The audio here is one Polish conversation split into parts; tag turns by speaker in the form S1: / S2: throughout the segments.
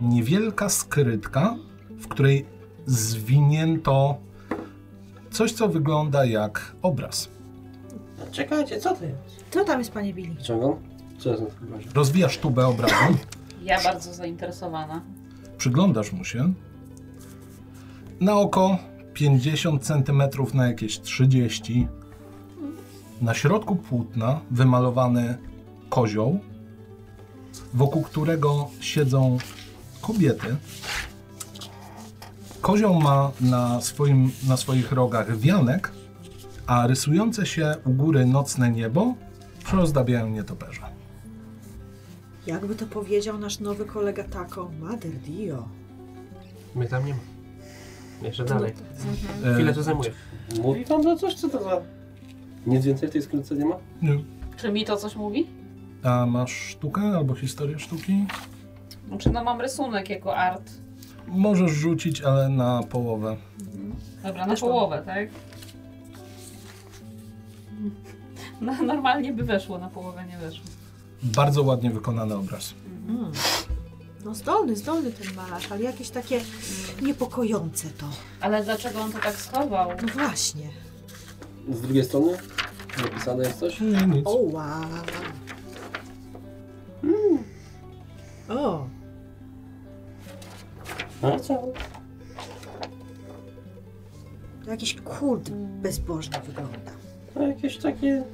S1: niewielka skrytka, w której zwinięto coś, co wygląda jak obraz.
S2: Czekajcie, co ty?
S3: Co tam jest, panie Billy?
S2: Wyciągam? Co jest na tym razie?
S1: Rozwijasz tubę obrazu,
S4: Ja bardzo zainteresowana.
S1: przyglądasz mu się. Na oko 50 cm na jakieś 30. Na środku płótna wymalowany kozioł, wokół którego siedzą kobiety. Kozioł ma na, swoim, na swoich rogach wianek, a rysujące się u góry nocne niebo przozdabiają nietoperze.
S3: Jakby to powiedział nasz nowy kolega Taco, Mother Dio.
S5: My tam nie ma. Jeszcze dalej.
S1: E,
S5: Chwilę to zajmuje.
S2: Mówi wam to coś, czy to za... Nic więcej w tej skrytce nie ma?
S1: nie.
S4: Czy mi to coś mówi?
S1: E, A masz sztukę albo historię sztuki?
S4: Znaczy, no mam rysunek jako art.
S1: Możesz rzucić, ale na połowę.
S4: Dobra, na
S3: Mhm. Też mam.
S4: połowę, tak? No, normalnie by weszło, na połowę nie weszło.
S1: Bardzo ładnie wykonany obraz.
S3: Mm. No zdolny, zdolny ten malarz, ale jakieś takie niepokojące to.
S4: Ale dlaczego on to tak schował?
S3: No właśnie.
S2: Z drugiej strony napisane jest coś?
S1: Nie, nic.
S3: O, wow. Hmm. O,
S2: A co?
S3: to jakiś kult bezbożny wygląda.
S2: No jakieś takie...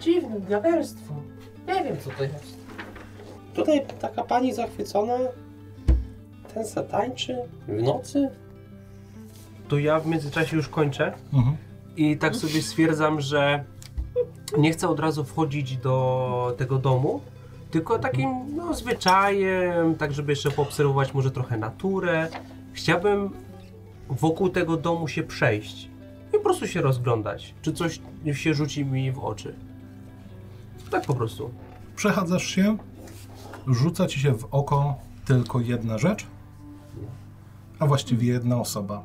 S5: Dziwne diabelstwo. Nie wiem co to jest.
S2: Tutaj taka pani zachwycona, ten se tańczy w nocy.
S5: To ja w międzyczasie już kończę.
S1: Mhm.
S5: I tak sobie stwierdzam, że nie chcę od razu wchodzić do tego domu, tylko takim no, zwyczajem, tak żeby jeszcze poobserwować może trochę naturę. Chciałbym wokół tego domu się przejść i po prostu się rozglądać, czy coś się rzuci mi w oczy. Tak po prostu.
S1: Przechadzasz się, rzuca ci się w oko tylko jedna rzecz, a właściwie jedna osoba.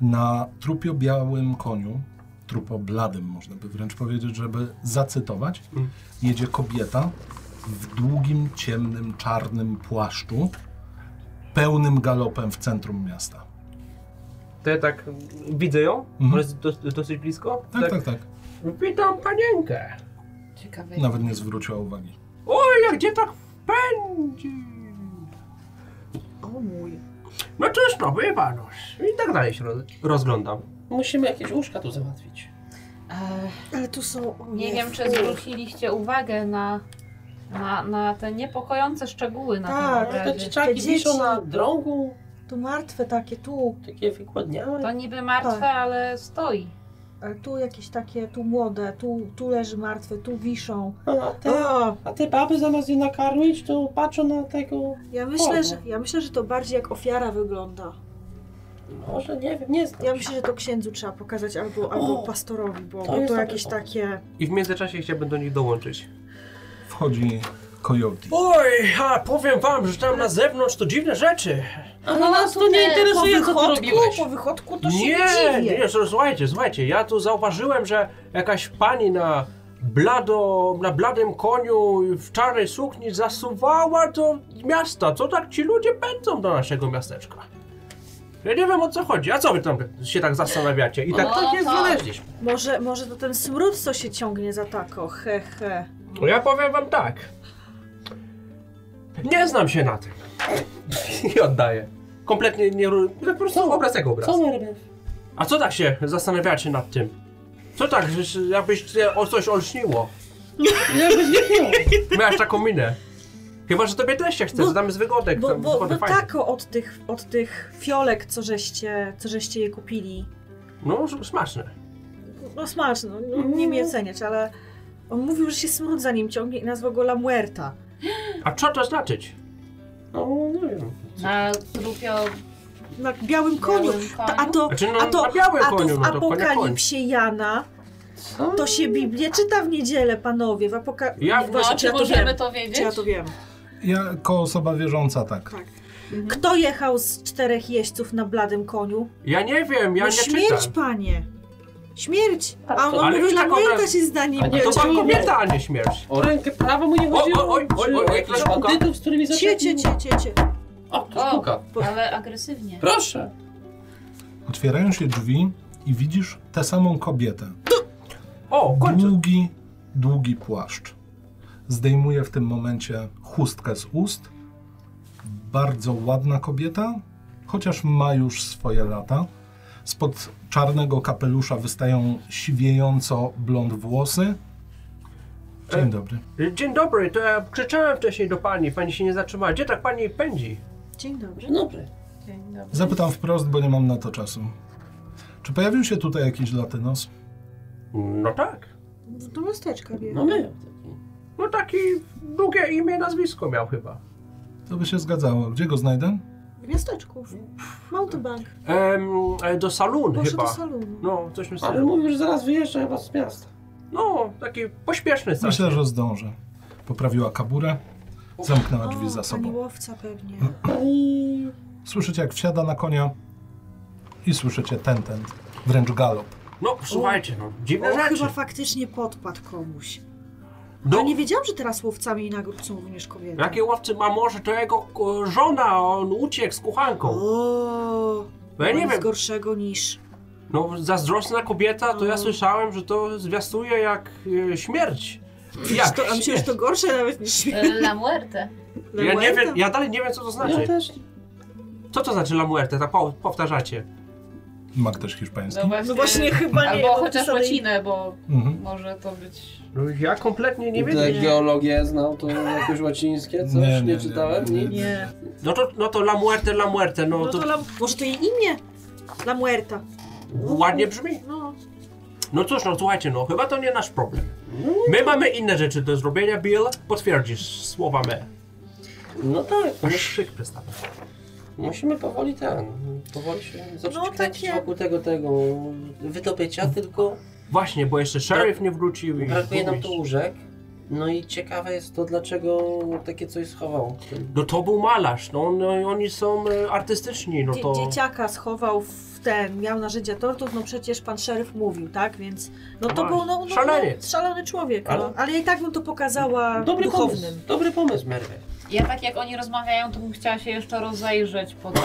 S1: Na trupio białym koniu, trupo bladym można by wręcz powiedzieć, żeby zacytować,
S5: Mm.
S1: jedzie kobieta w długim, ciemnym, czarnym płaszczu, pełnym galopem w centrum miasta.
S5: To ja tak widzę ją,
S1: Mhm.
S5: ona jest dos- dosyć blisko.
S1: Tak, tak, tak.
S5: Witam panienkę.
S4: Ciekawe.
S3: No.
S1: Nawet nie zwróciła uwagi.
S5: Oj, a gdzie tak pędzi?
S3: O mój.
S5: No cóż, no wie pan. I tak dalej się roz- rozglądam.
S2: Musimy jakieś łóżka tu załatwić.
S4: Ech,
S3: Ale tu są... O
S4: nie
S3: nie
S4: wiem, czy zwróciliście uwagę na, na, na te niepokojące szczegóły na
S3: Tak,
S4: tym
S2: Ale te
S4: obrazie.
S2: dzieciaki
S3: Te dzieci.
S2: wiszą na drągu,
S3: Tu martwe takie, tu,
S2: takie wykładniałe.
S4: To niby martwe,
S3: Tak.
S4: ale stoi.
S3: ale tu jakieś takie, tu młode, tu, tu leży martwe, tu wiszą.
S2: A te,
S3: O,
S2: a te baby zamiast je nakarmić, to patrzą na tego...
S3: ja myślę, że, ja myślę, że to bardziej jak ofiara wygląda.
S2: Może, nie wiem, nie znam.
S3: Ja myślę, że to księdzu trzeba pokazać albo, albo
S2: O,
S3: pastorowi, bo
S2: to
S3: bo
S2: jest
S3: to
S2: dobry
S3: jakieś
S2: pomysł.
S3: takie...
S5: I w międzyczasie chciałbym do nich dołączyć.
S1: Wchodzi Coyote.
S5: Oj, a powiem wam, że tam na zewnątrz to dziwne rzeczy.
S3: No,
S2: Ale nas no, to nie interesuje, co ty
S3: wychodku,
S2: robiłeś.
S3: po wychodku to się
S5: Nie,
S3: dziwię.
S5: nie, słuchajcie, słuchajcie, ja tu zauważyłem, że jakaś pani na blado, na bladym koniu i w czarnej sukni zasuwała do miasta. Co tak ci ludzie pędzą do naszego miasteczka? Ja nie wiem o co chodzi, a co wy tam się tak zastanawiacie? I tak,
S4: O,
S5: tak nie
S4: tak.
S5: znaleźliśmy.
S3: Może, może to ten smród, co się ciągnie za tako, he, he.
S5: No ja powiem wam tak. Nie znam się na tym. I oddaję. Kompletnie nie. ru- Po prostu
S2: Co?
S5: obraz jak obraz.
S2: Co my robimy?
S5: A co tak się zastanawiacie nad tym? Co tak, że się- jakbyś cię o coś olśniło? Miałaś taką minę. Chyba, że tobie też się chce,
S3: Bo-
S5: zadamy z wygodek.
S3: Bo,
S5: Tak, tam
S3: bo, tak-
S5: zgodę,
S3: bo
S5: fajnie.
S3: tako od tych, od tych fiolek, co żeście, co żeście je kupili.
S5: No, ż- smaczne.
S3: No smaczne, no, no, nie
S5: Mm.
S3: mi oceniać, ale on mówił, że się smród za nim ciągnie i nazwał go La Muerta.
S5: A co to znaczyć?
S2: No, nie wiem.
S4: Na trupio
S3: Na białym koniu.
S4: białym
S3: Ta, a
S4: koniu.
S3: to,
S5: Znaczy, no,
S3: a to,
S5: na białym
S3: a to
S5: koniu,
S3: w
S5: no to konia koń.
S3: Apokalipsie Jana
S2: Co?
S3: to się Biblię czyta w niedzielę, panowie. W apoka...
S5: Ja-
S3: Nie,
S5: No,
S4: No,
S3: właśnie,
S4: czy
S3: ja to
S4: możemy
S3: wiem.
S4: to
S3: Czy ja
S4: wiedzieć?
S3: to wiem.
S5: Mhm.
S1: Jako osoba wierząca, tak.
S3: Tak. Kto jechał z czterech jeźdźców na bladym koniu?
S5: Ja nie wiem, ja
S3: no
S5: nie
S3: śmierć,
S5: czytam.
S3: panie! Śmierć!
S4: Tak,
S3: A
S4: to-
S3: on
S5: ale
S3: mówi,
S5: już
S3: że
S5: tak
S3: Muerta
S5: ona-
S3: się zdanie
S2: A nie,
S5: To
S2: Czyli-
S5: była kobieta, a nie śmierć.
S2: O rękę prawą mu nie
S5: O,
S2: chodziło,
S5: oj, oj,
S2: czy
S5: oj,
S2: o
S5: oj,
S2: jakichś
S5: puka.
S2: bandytów, z którymi
S3: Cie,
S2: zaczęli?
S3: cie, cie, cie, cie.
S2: O, ktoś puka.
S4: Ale agresywnie.
S2: Proszę.
S1: Otwierają się drzwi i widzisz tę samą kobietę.
S5: O, kończę.
S1: Długi, długi płaszcz. Zdejmuje w tym momencie chustkę z ust. Bardzo ładna kobieta, chociaż ma już swoje lata. Spod czarnego kapelusza wystają siwiejąco blond włosy. Dzień
S5: E.
S1: dobry.
S5: Dzień dobry, to ja krzyczałem wcześniej do pani, pani się nie zatrzymała. Gdzie tak pani pędzi?
S3: Dzień dobry.
S2: Dzień dobry.
S4: Dzień dobry.
S1: Zapytam wprost, bo nie mam na to czasu. Czy pojawił się tutaj jakiś latynos?
S5: No tak.
S3: Do miasteczka wie.
S2: No my.
S5: No taki długie imię, nazwisko miał chyba.
S1: To by się zgadzało. Gdzie go znajdę?
S3: W miasteczku. Mountebank.
S5: Em, e, do salonu
S3: Proszę do
S5: chyba.
S3: salonu.
S5: No, coś mi
S2: Ale mówił, że zaraz wyjeżdża chyba z miasta.
S5: No, taki pośpieszny strasznie.
S1: Myślę, że zdążę. Poprawiła kaburę, zamknęła drzwi
S3: O,
S1: za
S3: Pani
S1: sobą.
S3: łowca pewnie.
S5: No,
S2: I...
S1: Słyszycie, jak wsiada na konia i słyszycie ten, ten, wręcz galop.
S5: No, słuchajcie, no, dziwne
S3: O,
S5: rzeczy.
S3: chyba faktycznie podpadł komuś.
S5: No,
S3: Ja nie wiedziałam, że teraz łowcami i nagród są również kobiety.
S5: jakie łowcy ma może, to jego e, żona, on uciekł z kuchanką.
S3: O,
S5: No ja nie
S3: nic
S5: wiem,
S3: gorszego niż...
S5: no zazdrosna kobieta, to ja
S3: O.
S5: słyszałem, że to zwiastuje jak e, śmierć. Jak
S3: to, a myślę, że to gorsze nawet niż...
S4: E, La Muerte.
S5: Ja nie wiem, ja dalej nie wiem, co to
S2: Ja
S5: znaczy.
S2: też.
S5: Co to znaczy la muerte? Tak po, powtarzacie.
S1: Ma ktoś hiszpański?
S4: No właśnie,
S3: No właśnie chyba nie.
S4: Albo chociaż
S3: napisane-
S4: łacinę, bo
S1: Mhm.
S4: może to być...
S5: No ja kompletnie nie
S2: Te
S5: wiem.
S2: geologię znał, to jakieś łacińskie, coś
S1: Nie, nie,
S2: nie,
S1: nie,
S2: czytałem?
S1: nie,
S2: Nic.
S1: nie.
S3: Nie.
S5: No to, no to la muerte, la muerte, no,
S3: No to
S5: to,
S3: la... może to jej imię? La Muerta.
S5: ładnie brzmi.
S3: No.
S5: No cóż, no słuchajcie, no chyba to nie nasz problem. My mamy inne rzeczy do zrobienia, Bill. Potwierdzisz słowa me.
S2: No tak,
S5: Masz szyk przestaw.
S2: musimy powoli ten, powoli się zacząć
S3: No,
S2: no,
S3: takie-
S2: wokół tego, tego wydobycia, tylko
S5: Właśnie, bo jeszcze szeryf nie wrócił i...
S2: brakuje nam tu łóżek. No i ciekawe jest to, dlaczego takie coś schował.
S5: No to był malarz, no, no i oni są e, artystyczni, no
S3: Dzie-
S5: to...
S3: Dzieciaka schował w ten, miał narzędzia tortur, no przecież pan szeryf mówił, tak? Więc no to
S5: Właśnie.
S3: był no, no,
S5: Szaleniec.
S3: no, szalony człowiek, ale...
S2: Ale-
S3: no. Ale ja i tak bym to pokazała
S2: Dobry
S3: duchownym.
S2: pomysł, dobry pomysł, Merwe.
S4: Ja tak jak oni rozmawiają, to bym chciała się jeszcze rozejrzeć po tym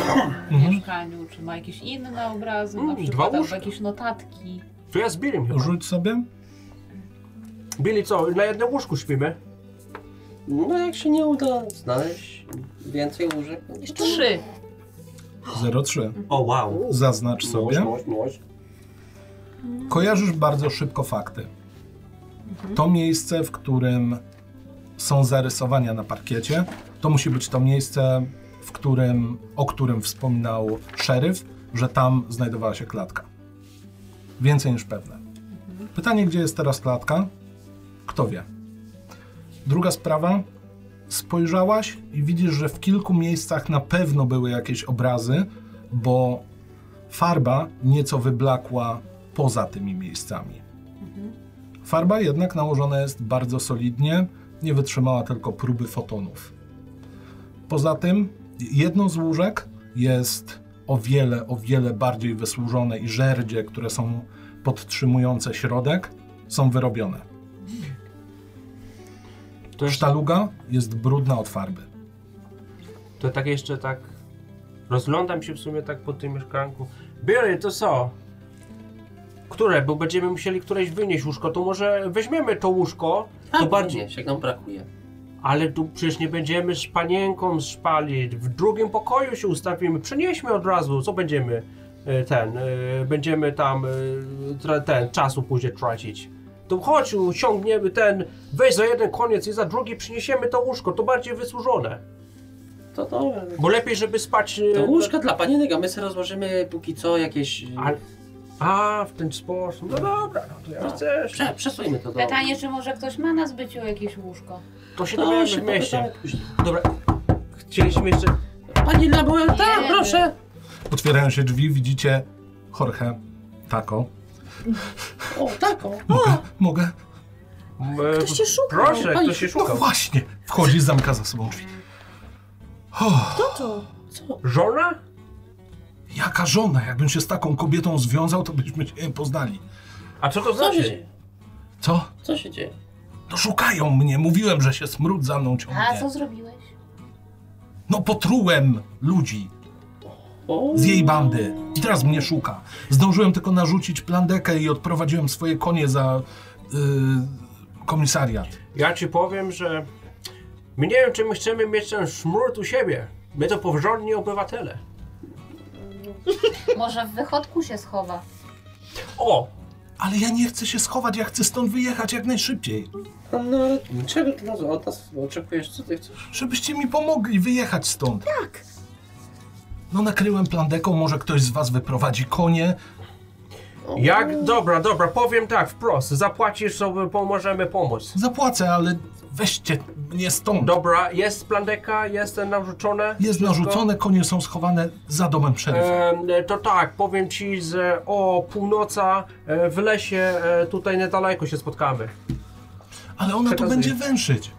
S4: mieszkaniu. Czy ma jakieś inne obrazy, na
S5: Mm, dwa
S4: przykład albo
S5: łóżka.
S4: jakieś notatki.
S5: To ja z Billim chyba.
S1: Rzuć sobie.
S5: Billy co, na jednym łóżku śpimy?
S2: No jak się nie uda znaleźć więcej łóżek, no
S3: Jeszcze
S4: Trzy.
S1: 03.
S5: O wow.
S1: Zaznacz
S2: Moż,
S1: sobie.
S2: moż, moż.
S1: Kojarzysz bardzo szybko fakty. To miejsce, w którym są zarysowania na parkiecie, to musi być to miejsce, w którym, o którym wspominał szeryf, że tam znajdowała się klatka. Więcej niż pewne. Pytanie, gdzie jest teraz klatka? Kto wie. Druga sprawa. Spojrzałaś i widzisz, że w kilku miejscach na pewno były jakieś obrazy, bo farba nieco wyblakła poza tymi miejscami. Farba jednak nałożona jest bardzo solidnie, nie wytrzymała tylko próby fotonów. Poza tym, jedno z łóżek jest o wiele, o wiele bardziej wysłużone i żerdzie, które są podtrzymujące środek, są wyrobione.
S5: To, jest,
S1: Sztaluga jest brudna od farby.
S5: to tak jeszcze tak... Rozglądam się w sumie tak po tym mieszkanku. Billy, to co? Które? Bo będziemy musieli któreś wynieść łóżko, to może weźmiemy to łóżko, to
S2: Tak,
S5: bardziej...
S2: jak nam brakuje.
S5: Ale tu przecież nie będziemy z panienką szpalić. W drugim pokoju się ustawimy. Przenieśmy od razu, co będziemy e, ten. e, Będziemy tam e, tra- ten czasu później tracić. To chodź, ciągniemy ten. Weź za jeden koniec i za drugi przyniesiemy to łóżko. To bardziej wysłużone.
S2: To dobra.
S5: Bo lepiej, żeby spać. e,
S2: To łóżka dla panienek, a my sobie rozłożymy póki co jakieś... y,
S5: A, a, w ten sposób. No dobra, no to ja
S2: No.
S5: chcesz.
S2: Prze, przesuńmy to do...
S4: Pytanie, czy może ktoś ma na zbyciu jakieś łóżko?
S5: To się
S2: To
S5: dowiemy
S2: No, się
S5: w mieście.
S2: popytamy później.
S5: Dobra. Chcieliśmy jeszcze.
S2: Pani Lamuel, tak,
S4: Jezu.
S2: proszę!
S1: Otwierają się drzwi, widzicie Jorge, tako.
S2: O, taką.
S1: Mogę?
S5: E,
S3: Ktoś cię szukał.
S5: Proszę,
S2: Pani-
S5: ktoś się
S1: No
S5: szukał.
S1: właśnie! Wchodzi, zamka za sobą drzwi.
S3: Kto
S5: No.
S3: to?
S2: Co?
S5: Żona?
S1: Jaka żona? Jakbym się z taką kobietą związał, to byśmy się nie poznali.
S5: A co to
S2: Co się
S5: znaczy?
S2: dzieje?
S1: Co?
S2: Co się dzieje?
S1: No szukają mnie, mówiłem, że się smród za mną
S4: A
S1: ciągnie.
S4: co zrobiłeś?
S1: No potrułem ludzi
S2: O,
S1: z jej bandy i teraz mnie szuka. Zdążyłem tylko narzucić plandekę i odprowadziłem swoje konie za y, komisariat.
S5: Ja ci powiem, że my nie wiem, czy my chcemy mieć ten smród u siebie. My to porządni obywatele.
S4: Może w wychodku się schowa.
S5: O!
S1: Ale ja nie chcę się schować, ja chcę stąd wyjechać jak najszybciej.
S2: No ale czego ty nas od nas oczekujesz? Co ty chcesz?
S1: Żebyście mi pomogli wyjechać stąd. Tak. No nakryłem plandeką, może ktoś z was wyprowadzi konie.
S5: Jak? Dobra, dobra, powiem tak wprost. Zapłacisz sobie, pomożemy pomóc.
S1: Zapłacę, ale weźcie mnie stąd.
S5: Dobra, jest plandeka, jest narzucone.
S1: Jest
S5: wszystko?
S1: narzucone, konie są schowane za domem
S5: E,
S1: szeryfa.
S5: Em, To tak, powiem ci, że o północa e, w lesie e, tutaj niedaleko się spotkamy.
S1: Ale ona tu
S5: przekazuję.
S1: będzie węszyć.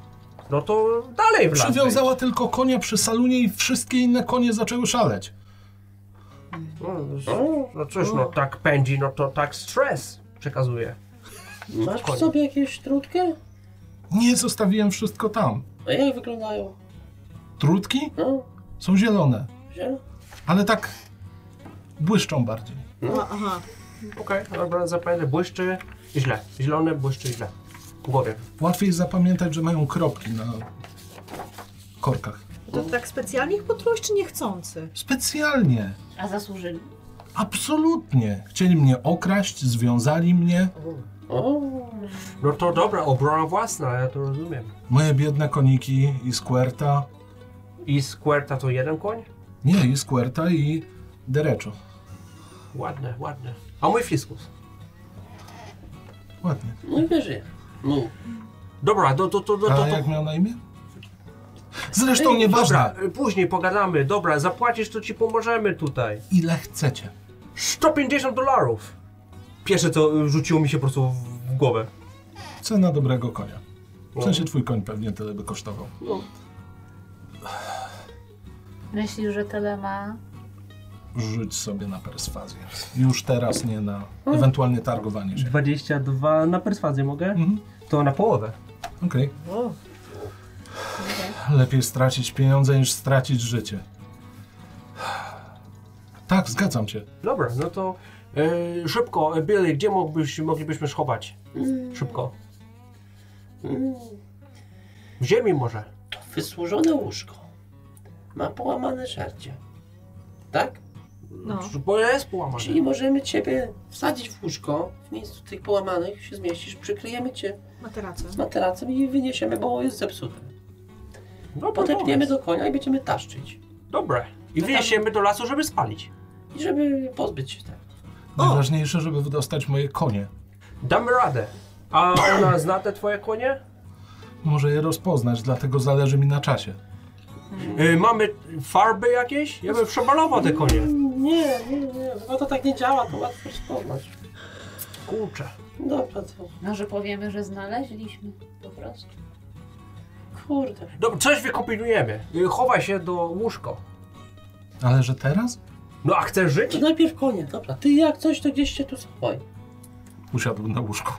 S5: No to dalej w las.
S1: Przywiązała tylko konia przy salunie i wszystkie inne konie zaczęły szaleć.
S5: wejdź. No, No cóż, no tak pędzi, no to tak stres przekazuje.
S2: Masz
S5: Spokojnie.
S2: w sobie jakieś trutkę?
S1: Nie zostawiłem wszystko tam.
S2: A jak wyglądają?
S1: Trutki
S2: No,
S1: są zielone,
S2: zielone?
S1: ale tak błyszczą bardziej.
S3: No, aha.
S5: Okej, dobra, zapędzę, błyszczy i źle. Zielone, błyszczy i źle. W głowie.
S1: Łatwiej jest zapamiętać, że mają kropki na korkach.
S3: To
S5: No.
S3: tak specjalnie ich potrułeś, czy niechcący?
S1: Specjalnie,
S4: A zasłużyli.
S1: absolutnie. Chcieli mnie okraść, związali mnie.
S2: O,
S5: No to dobra, obrona własna, ja to rozumiem.
S1: Moje biedne koniki i Squirta.
S5: I Squirta to jeden koń?
S1: Nie, i Squirta i Dereczo.
S5: Ładne, ładne. A mój fiskus?
S1: Ładnie.
S2: no i wierzy. No.
S5: Dobra, to, to, to, No to,
S1: A
S5: to,
S1: jak miał na imię? Zresztą nieważne,
S5: Dobra, y, później pogadamy, dobra, zapłacisz, to ci pomożemy tutaj.
S1: ile chcecie.
S5: 150 dolarów! Pierwsze co y, rzuciło mi się po prostu w- w głowę.
S1: Cena dobrego konia.
S5: No.
S1: W sensie twój koń pewnie tyle by kosztował.
S4: Myślisz, że tyle ma?
S1: Rzuć sobie na perswazję. Już teraz nie na ewentualnie targowanie się.
S5: 22 na perswazję mogę?
S1: Mhm.
S5: Mm. To na połowę.
S1: Okej.
S3: O,
S1: Lepiej stracić pieniądze niż stracić życie. Tak, zgadzam się.
S5: Dobra, no to e, szybko, e, Billy, gdzie mógłbyś, moglibyśmy schować? Szybko.
S2: Mm,
S5: W ziemi może.
S2: to wysłużone łóżko. Ma połamane żarcie. Tak?
S3: no.
S5: Bo jest połamane.
S2: Czyli możemy ciebie wsadzić w łóżko, w miejscu tych połamanych się zmieścisz, przykryjemy cię
S3: Materace.
S2: z materacem i wyniesiemy, bo jest zepsute.
S5: No,
S2: Podepniemy
S5: do...
S2: do konia i będziemy taszczyć.
S5: Dobra. I
S2: No tam-
S5: wyniesiemy do lasu, żeby spalić.
S2: I żeby pozbyć się tak. tego.
S3: O!
S1: Najważniejsze, żeby wydostać moje konie.
S5: Damy radę. A ona zna te twoje konie?
S1: Może je rozpoznać, dlatego zależy mi na czasie.
S5: Y, mamy farby jakieś? Ja bym przebalował te konie.
S2: Nie, nie, nie, chyba to tak nie działa, to łatwo rozpoznać.
S5: Kurczę.
S2: Dobra, to
S4: Może powiemy, że znaleźliśmy po prostu.
S2: kurde.
S5: Dobra, coś wykombinujemy. Y, Chowaj się do łóżko.
S1: Ale że teraz?
S5: No a chcesz żyć?
S2: To najpierw konie, dobra. Ty jak coś, to gdzieś się tu schowaj.
S1: Usiadł na łóżku.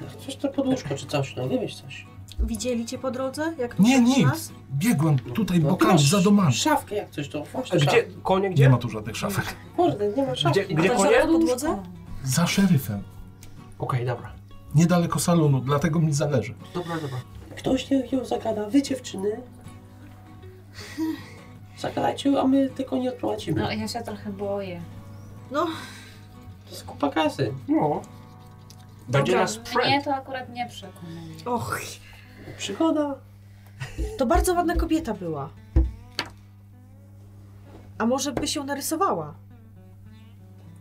S2: Jak coś, to pod łóżko czy coś, no wymyśl coś.
S3: Widzieli cię po drodze? Jak
S1: Nie,
S3: minąłeś
S1: nic.
S3: nas?
S1: Biegłem tutaj
S2: No, ty
S1: bokami
S2: masz
S1: za domami.
S2: Szafkę jak coś, to
S5: A
S2: właśnie
S5: Gdzie?
S2: szafkę.
S5: Konie gdzie?
S1: Nie ma tu żadnych szafek.
S2: Kurde, nie ma szafki.
S5: Gdzie- gdzie-
S3: Ktoś
S5: konie?
S3: na podłodze?
S1: Za szeryfem.
S5: Okej, dobra.
S1: Niedaleko salonu, dlatego mi zależy.
S5: Dobra, dobra.
S2: Ktoś niech ją zagada, wy dziewczyny. Zagadajcie, a my tylko nie odprowadzimy.
S4: No ja się trochę boję.
S3: No,
S2: To jest kupa kasy.
S5: No. Będzie
S3: Dobra,
S5: nas
S4: Mnie
S5: friend.
S4: to akurat nie przekonuje.
S3: och.
S2: Przygoda.
S3: To bardzo ładna kobieta była. A może by się narysowała?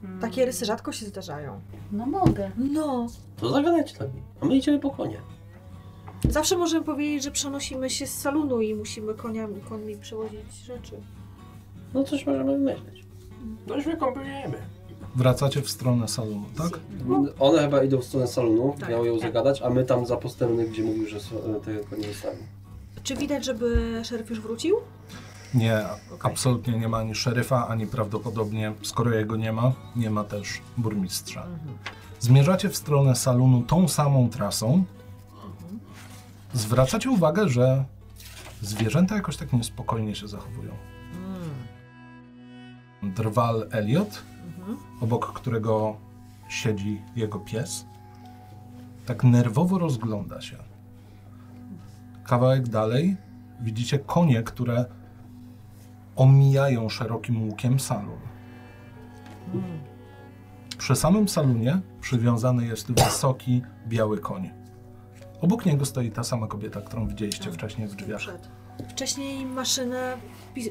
S4: Mm.
S3: Takie rysy rzadko się zdarzają.
S4: No mogę.
S3: No,
S2: To zagadajcie do mnie, a my idziemy po konie.
S3: zawsze możemy powiedzieć, że przenosimy się z salonu i musimy koniami, konmi przewozić rzeczy.
S2: No coś możemy wymyśleć.
S5: Coś wykombinujemy.
S1: Wracacie w stronę salonu, tak?
S2: One chyba idą w stronę salonu,
S3: Tak.
S2: miały ją zagadać, a my tam za posterny, gdzie mówił, że są- e, te konie zostawił.
S3: Czy widać, żeby szeryf już wrócił?
S1: Nie, absolutnie nie ma ani szeryfa, ani prawdopodobnie, skoro jego nie ma, nie ma też burmistrza. Zmierzacie w stronę salonu tą samą trasą. Zwracacie uwagę, że zwierzęta jakoś tak niespokojnie się zachowują. Drwal Elliot, obok którego siedzi jego pies, tak nerwowo rozgląda się. Kawałek dalej widzicie konie, które omijają szerokim łukiem salon. Przy samym salonie przywiązany jest wysoki, biały koń. Obok niego stoi ta sama kobieta, którą widzieliście wcześniej w drzwiach.
S3: Przed. Wcześniej maszynę pis-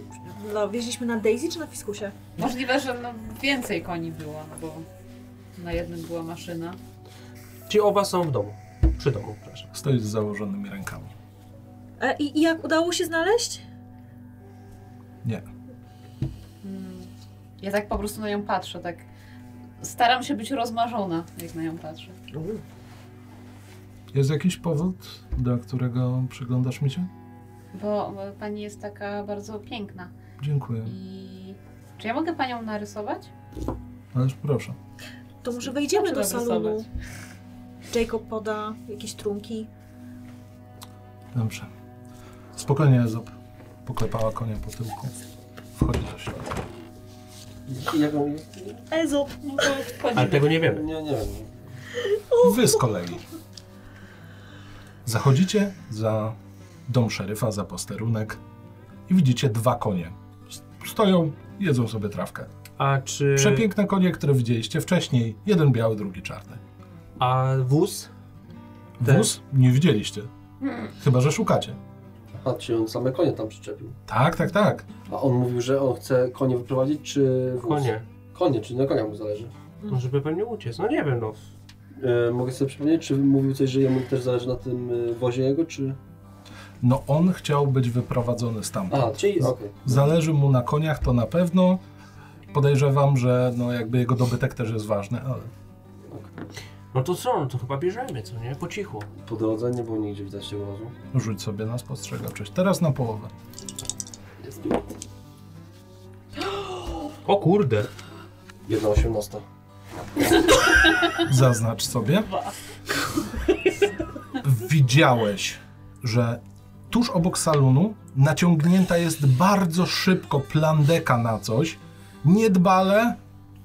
S3: no, wieźliśmy na Daisy czy na Fiskusie?
S4: Możliwe, że no więcej koni było, no bo na jednym była maszyna.
S5: Ci oba są w domu. Przy domu, przepraszam.
S1: Stoi z założonymi rękami.
S3: E, i, I jak udało się znaleźć?
S1: Nie.
S4: Mm. Ja tak po prostu na nią patrzę, tak staram się być rozmarzona, jak na nią patrzę.
S1: Jest jakiś powód, dla którego przyglądasz mi się?
S4: Bo bo pani jest taka bardzo piękna
S1: Dziękuję.
S4: i... Czy ja mogę panią narysować?
S1: Ależ proszę.
S3: To może wejdziemy do
S4: Zaczynam
S3: salonu.
S4: rysować.
S3: Jacob poda jakieś trunki.
S1: Dobrze. Spokojnie, Ezop. Poklepała konia po tyłku. Wchodzi do środka.
S2: Jak on
S3: Ezop!
S4: No to
S5: Ale
S4: wchodzimy.
S5: tego nie wiemy.
S2: Nie, nie wiem.
S1: Wy z kolei. Zachodzicie za dom szeryfa, za posterunek i widzicie dwa konie. Stoją, jedzą sobie trawkę.
S5: A czy...
S1: Przepiękne konie, które widzieliście wcześniej. Jeden biały, drugi czarny.
S5: A wóz? Te-
S1: Wóz nie widzieliście. Chyba, że szukacie.
S2: A czy on same konie tam przyczepił?
S1: Tak, tak, tak.
S2: A on mówił, że on chce konie wyprowadzić, czy wóz?
S5: Konie.
S2: Konie, czyli na konia mu zależy.
S5: No, żeby pewnie uciec. No nie wiem, no.
S2: E, mogę sobie przypomnieć, czy mówił coś, że jemu też zależy na tym e, wozie jego, czy...
S1: No on chciał być wyprowadzony stamtąd.
S2: A, czyli okej.
S1: Zależy mu na koniach, to na pewno. Podejrzewam, że no jakby jego dobytek też jest ważny, ale
S5: No to co, no to chyba bierzemy, co nie? Po cichu.
S2: Po drodze nie było nigdzie widać tego wozu.
S1: rzuć sobie na spostrzegawczość. Teraz na połowę.
S2: Jest
S5: O kurde.
S2: Jedna osiemnasta.
S1: Zaznacz sobie. Widziałeś, że tuż obok salonu naciągnięta jest bardzo szybko plandeka na coś. Niedbale,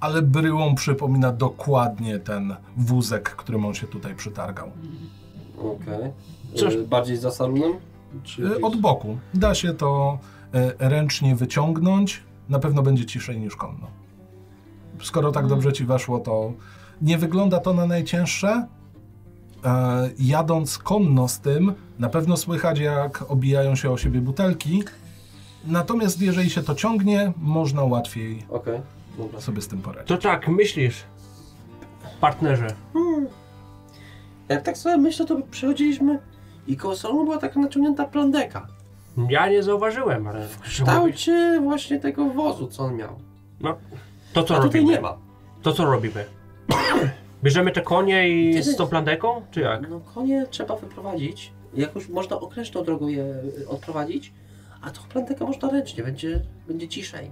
S1: ale bryłą przypomina dokładnie ten wózek, którym on się tutaj przytargał.
S2: Okej.
S5: Coś-
S2: E, bardziej za samym? Czy
S5: E,
S1: Y, Od boku. Da się to y, ręcznie wyciągnąć. Na pewno będzie ciszej niż konno. Skoro tak dobrze ci weszło, to nie wygląda to na najcięższe. E, Jadąc konno z tym, na pewno słychać, jak obijają się o siebie butelki. Natomiast jeżeli się to ciągnie, można łatwiej
S2: Okej, dobra.
S1: sobie z tym poradzić.
S5: To tak, myślisz, partnerze.
S2: Jak tak sobie myślę, to przychodziliśmy i koło salonu była taka naciągnięta plandeka.
S5: Ja nie zauważyłem, ale...
S2: W kształcie właśnie tego wozu, co on miał.
S5: No, to co
S2: A tutaj
S5: robimy?
S2: nie ma.
S5: To co robimy? Bierzemy te konie i z tą plandeką, czy jak?
S2: No konie trzeba wyprowadzić. Jak już można określoną drogą je y, odprowadzić, a tą plantekę można ręcznie, będzie, będzie ciszej.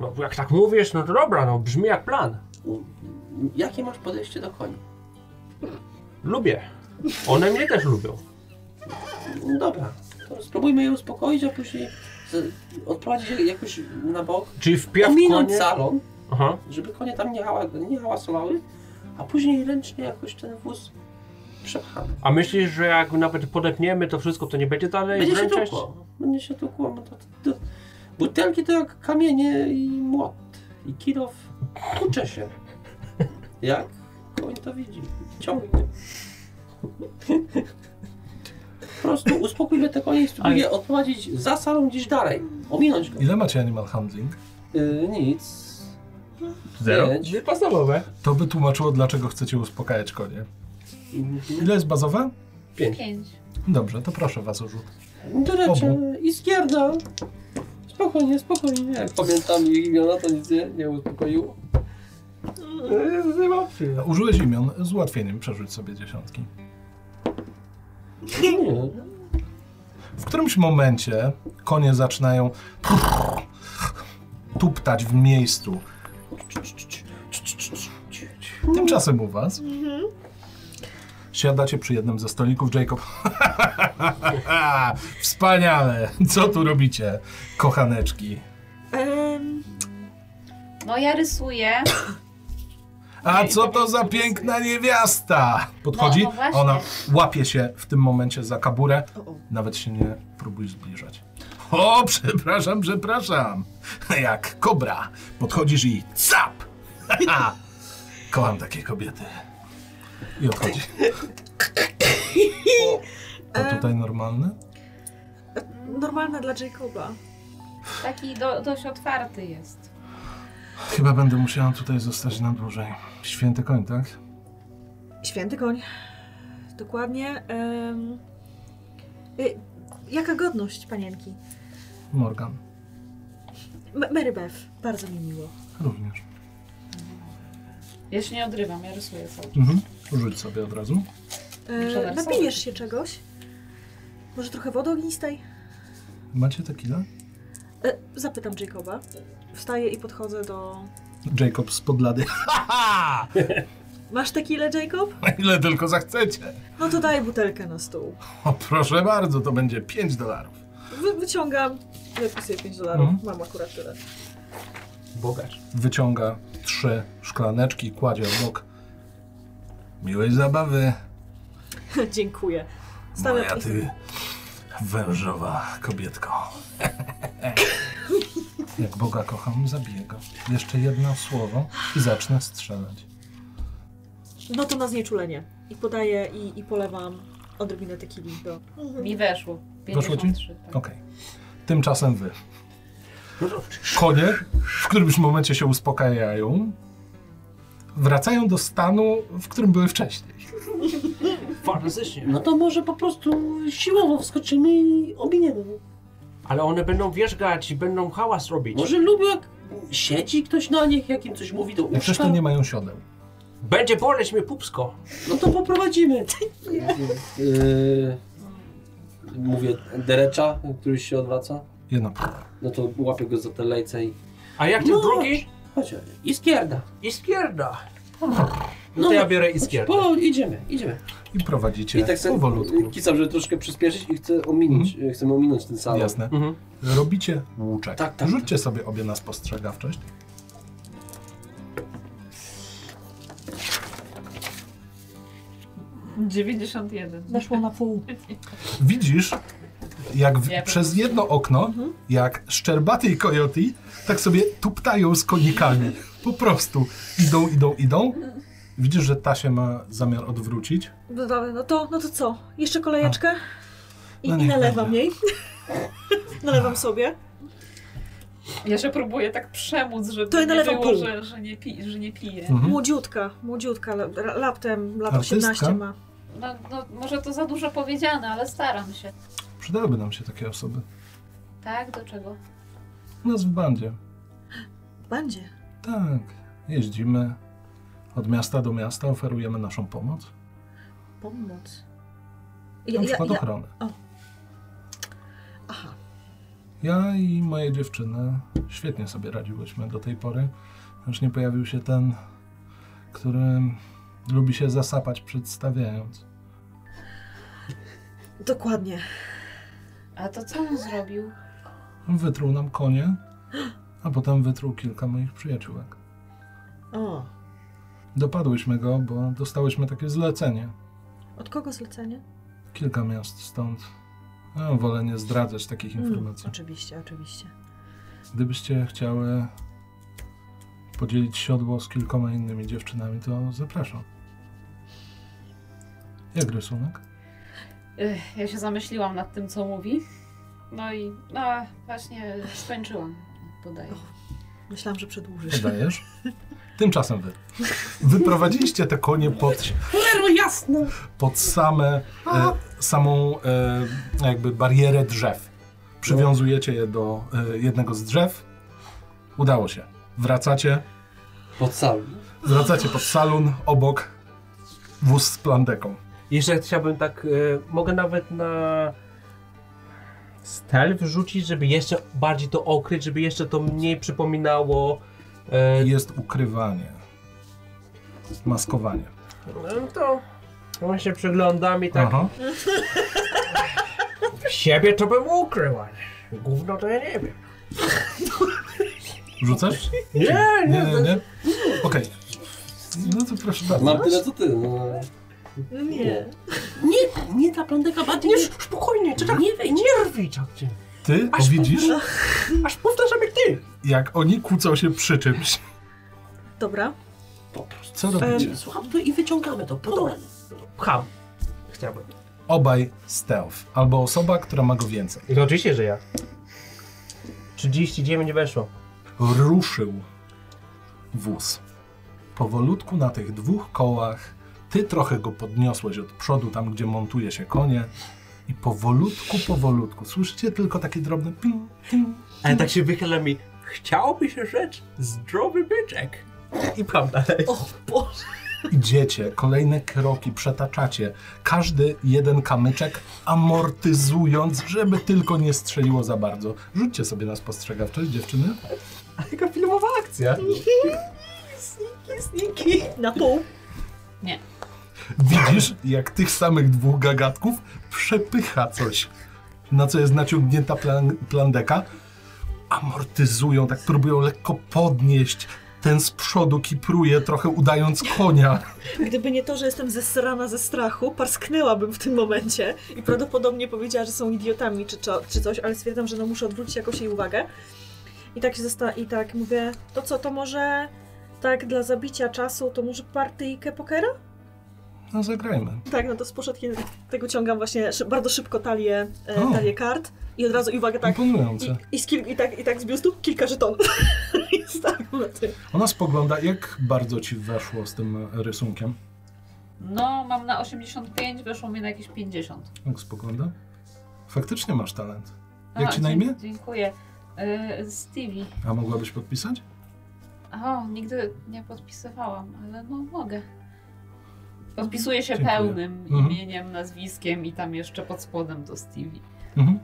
S5: No, jak tak mówisz, no to dobra, no brzmi jak plan.
S2: U- Jakie masz podejście do koni?
S5: Lubię. One mnie też lubią.
S2: No dobra, to spróbujmy je uspokoić, a później z, odprowadzić je jakoś na bok.
S5: Czyli wpierw
S2: Ominąć
S5: konie...
S2: salon,
S5: Aha.
S2: żeby konie tam nie, hała, nie hałasowały, a później ręcznie jakoś ten wóz przepchamy.
S5: A myślisz, że jak nawet podepniemy to wszystko, to nie będzie dalej
S2: Będzie się
S5: brzęczeć?
S2: tukło. Będzie się tukło. bo To, to, to, butelki to jak kamienie i młot. I kilof tucze się. Jak? Koń to widzi. Ciągnie. Po prostu uspokójmy te konie i spróbuj je odprowadzić za salą gdzieś dalej. Ominąć go.
S1: Ile macie animal handling?
S2: Yy, nic. Pięć.
S5: Wypasowowe.
S1: To by tłumaczyło, dlaczego chcecie uspokajać konie. Ile jest bazowe?
S4: Pięć.
S1: Dobrze, to proszę was o rzut.
S2: Durecie,
S1: Obu.
S2: iskierda. Spokojnie, spokojnie. Jak pamiętam jej imiona, to nic nie, nie uspokoiło.
S5: No,
S1: No, Użyłeś imion, z ułatwieniem przerzuć sobie dziesiątki.
S2: Nie.
S1: W którymś momencie konie zaczynają tuptać w miejscu. Tymczasem u was siadacie przy jednym ze stolików. Jacob. Wspaniale! Co tu robicie, kochaneczki?
S3: Em,
S4: No ja rysuję.
S1: A co to za piękna niewiasta? Podchodzi,
S4: No, no właśnie.
S1: ona łapie się w tym momencie za kaburę,
S3: o, o.
S1: nawet się nie próbuj zbliżać. O, przepraszam, przepraszam. Jak kobra. Podchodzisz i cap! Kocham takie kobiety. I odchodzi. To tutaj normalne?
S3: Normalna dla Jacoba.
S4: Taki do, dość otwarty jest.
S1: Chyba będę musiała tutaj zostać na dłużej. Święty koń, tak?
S3: Święty koń. Dokładnie. em. Y, jaka godność panienki?
S1: Morgan
S3: M- Mary Beth, bardzo mi miło.
S1: również.
S4: Ja się nie odrywam, ja rysuję sobie.
S1: Mhm. Rzuć sobie od razu.
S3: E,
S4: Przewersować.
S3: napijesz się czegoś? Może trochę wody ognistej?
S1: Macie tequila?
S3: E, zapytam Jacoba. Wstaję i podchodzę do...
S1: Jacob z podlady.
S3: Masz tequilę, Jacob?
S1: Ile tylko zachcecie.
S3: No to daj butelkę na stół.
S1: O, proszę bardzo, to będzie 5 dolarów.
S3: Wy, wyciągam, wypisuję 5 dolarów,
S1: Mhm.
S3: mam akurat tyle.
S5: Bogacz.
S1: Wyciąga trzy szklaneczki, kładzie obok. Miłej zabawy.
S3: Dziękuję. Stawiam
S1: Moja ty wężowa kobietko. Jak Boga kocham, zabiję go. Jeszcze jedno słowo i zacznę strzelać.
S3: No to na znieczulenie. I podaję i, i polewam odrobinę tequili do...
S4: Mi weszło.
S1: Weszło ci?
S4: 53. tak.
S1: Okej. Tymczasem wy. Konie w którymś momencie się uspokajają. Wracają do stanu, w którym były wcześniej.
S5: Fantastycznie.
S2: No to może po prostu siłowo wskoczymy i ominiemy.
S5: Ale one będą wierzgać i będą hałas robić.
S2: Może lubią jak siedzi ktoś na nich, jak im coś mówi do
S1: Jak
S2: uszka.
S1: Przecież to nie mają siodeł.
S5: Będzie boleć mnie pupsko.
S2: No to poprowadzimy. Yy, mówię Derecza, który się odwraca.
S1: Jedno.
S2: No to łapię go za te lejce i...
S5: A jak ten
S2: No.
S5: drugi?
S2: Chodź, Iskierda.
S5: Iskierda. No
S2: No,
S5: to ja biorę
S2: Chodź,
S5: iskierdę.
S2: po, idziemy, idziemy.
S1: I prowadzicie
S2: I tak sobie
S1: powolutku. Mhm.
S2: kicam, żeby troszkę przyspieszyć i chcę ominąć, chcemy ominąć ten salon.
S1: Jasne.
S5: Mhm.
S1: Robicie łuczek.
S2: Tak, tak,
S1: Rzućcie sobie obie na spostrzegawczość.
S3: Weszło na pół.
S1: Widzisz, jak w,
S4: Ja po
S1: przez jedno okno, jak szczerbaty i kojoty, tak sobie tuptają z konikami. Po prostu. Idą, idą, idą. Widzisz, że ta się ma zamiar odwrócić.
S3: No, dobra, no, to, no to co? Jeszcze kolejeczkę? I,
S1: No
S3: i
S1: niech
S3: nalewam
S1: będzie. Mhm.
S3: jej. nalewam sobie.
S4: Ja się próbuję tak przemóc, żeby
S3: To ja
S4: nie
S3: nalewam
S4: było,
S3: pół.
S4: że, że, nie pi, że nie piję.
S1: Mhm.
S3: Młodziutka, młodziutka, la- ra- laptem lat
S1: Artystka?
S3: 18 ma.
S4: No, no, może to za dużo powiedziane, ale staram się.
S1: Przydałyby nam się takie osoby.
S4: Tak? Do czego?
S1: U nas w bandzie.
S3: Będzie.
S1: Tak. Jeździmy od miasta do miasta, oferujemy naszą pomoc.
S3: Pomoc.
S1: Na
S3: Ja, ja,
S1: przykład
S3: ja,
S1: ochronę.
S3: aha.
S1: Ja i moje dziewczyny świetnie sobie radziłyśmy do tej pory. Już nie pojawił się ten, który lubi się zasapać przedstawiając.
S3: Dokładnie.
S4: A to co on zrobił?
S1: Wytruł nam konie, a potem wytruł kilka moich przyjaciółek.
S3: O,
S1: Dopadłyśmy go, bo dostałyśmy takie zlecenie.
S3: od kogo zlecenie?
S1: Kilka miast stąd. No, wolę nie zdradzać takich informacji.
S3: Hmm, oczywiście, Mm, oczywiście.
S1: Gdybyście chciały podzielić siodło z kilkoma innymi dziewczynami, to zapraszam. Jak rysunek?
S4: Ech, ja się zamyśliłam nad tym, co mówi. No i no, właśnie skończyłam. Podaję.
S3: Myślałam, że przedłużysz.
S1: Podajesz? Tymczasem wy. Wyprowadziliście te konie pod,
S2: Cholero jasne!
S1: pod same, e, samą e, jakby barierę drzew. Przywiązujecie je do e, jednego z drzew. Udało się. Wracacie.
S2: Pod salon.
S1: Wracacie pod salon obok wóz z plandeką.
S5: Jeszcze chciałbym tak, y, mogę nawet na stealth wrzucić, żeby jeszcze bardziej to okryć, żeby jeszcze to mniej przypominało. E,
S1: Jest ukrywanie. Maskowanie.
S5: No to on się przyglądam i tak.
S1: Aha.
S5: Siebie to bym ukrył, ale gówno to ja nie wiem.
S1: Rzucasz?
S5: Nie,
S1: Nie, nie, nie. Okej. No to proszę bardzo.
S2: Mam tyle co ty. No.
S3: No nie.
S2: Nie, nie ta plandeka
S5: nie,
S2: badniesz.
S5: spokojnie, czy tak nie wejdź. Nie rwij tak ty.
S1: Ty o,
S5: Aż
S1: widzisz,
S5: Aż powtarzam jak ty.
S1: jak oni kłócą się przy czymś.
S3: Dobra.
S2: Po prostu.
S1: Co robicie?
S2: Słucham to i wyciągamy to.
S5: No
S2: Podobnie.
S5: Pcham. Chciałbym.
S1: Obaj stealth. Albo osoba, która ma go więcej.
S5: I oczywiście, że ja. 39 weszło.
S1: ruszył wóz. Powolutku na tych dwóch kołach, ty trochę go podniosłeś od przodu, tam gdzie montuje się konie, i powolutku, powolutku, słyszycie tylko takie drobne ping, ping,
S5: Ale tak się wychyla mi. Chciałoby się rzecz zdrowy byczek. I pcham dalej.
S3: O Boże.
S1: idziecie, kolejne kroki przetaczacie, każdy jeden kamyczek amortyzując, żeby tylko nie strzeliło za bardzo. Rzućcie sobie na spostrzegawczość, dziewczyny.
S5: Taka filmowa akcja.
S3: Sniki. Na pół.
S1: Widzisz, jak tych samych dwóch gagatków przepycha coś, na co jest naciągnięta plan, plandeka. Amortyzują, tak próbują lekko podnieść. Ten z przodu kipruje, trochę udając konia.
S3: Gdyby nie to, że jestem zesrana ze strachu, parsknęłabym w tym momencie i prawdopodobnie powiedziała, że są idiotami czy, czo- czy coś, ale stwierdzam, że no muszę odwrócić jakoś jej uwagę. I tak się zosta- i tak mówię, to co, to może tak dla zabicia czasu, to może partyjkę pokera?
S1: No zagrajmy.
S3: Tak, no to z poszedki tego ciągam właśnie szy- bardzo szybko talię,
S1: O.
S3: e, talię kart i od razu, i uwaga, tak,
S1: Imponujące.
S3: i, i, z kil- i, tak, i tak z biustu kilka żetonów. I stawiam na tym.
S1: Ona spogląda, jak bardzo ci weszło z tym rysunkiem.
S4: No, mam na 85, weszło mi na jakieś 50.
S1: Jak spogląda? Faktycznie masz talent.
S4: A,
S1: Jak ci na
S4: dzie-
S1: imię?
S4: No Dziękuję. Yy, Stevie.
S1: A mogłabyś podpisać?
S4: O, nigdy nie podpisywałam, ale no mogę. Podpisuję się
S1: Dziękuję.
S4: pełnym
S1: Mhm.
S4: imieniem, nazwiskiem i tam jeszcze pod spodem do Stevie.
S1: Mhm.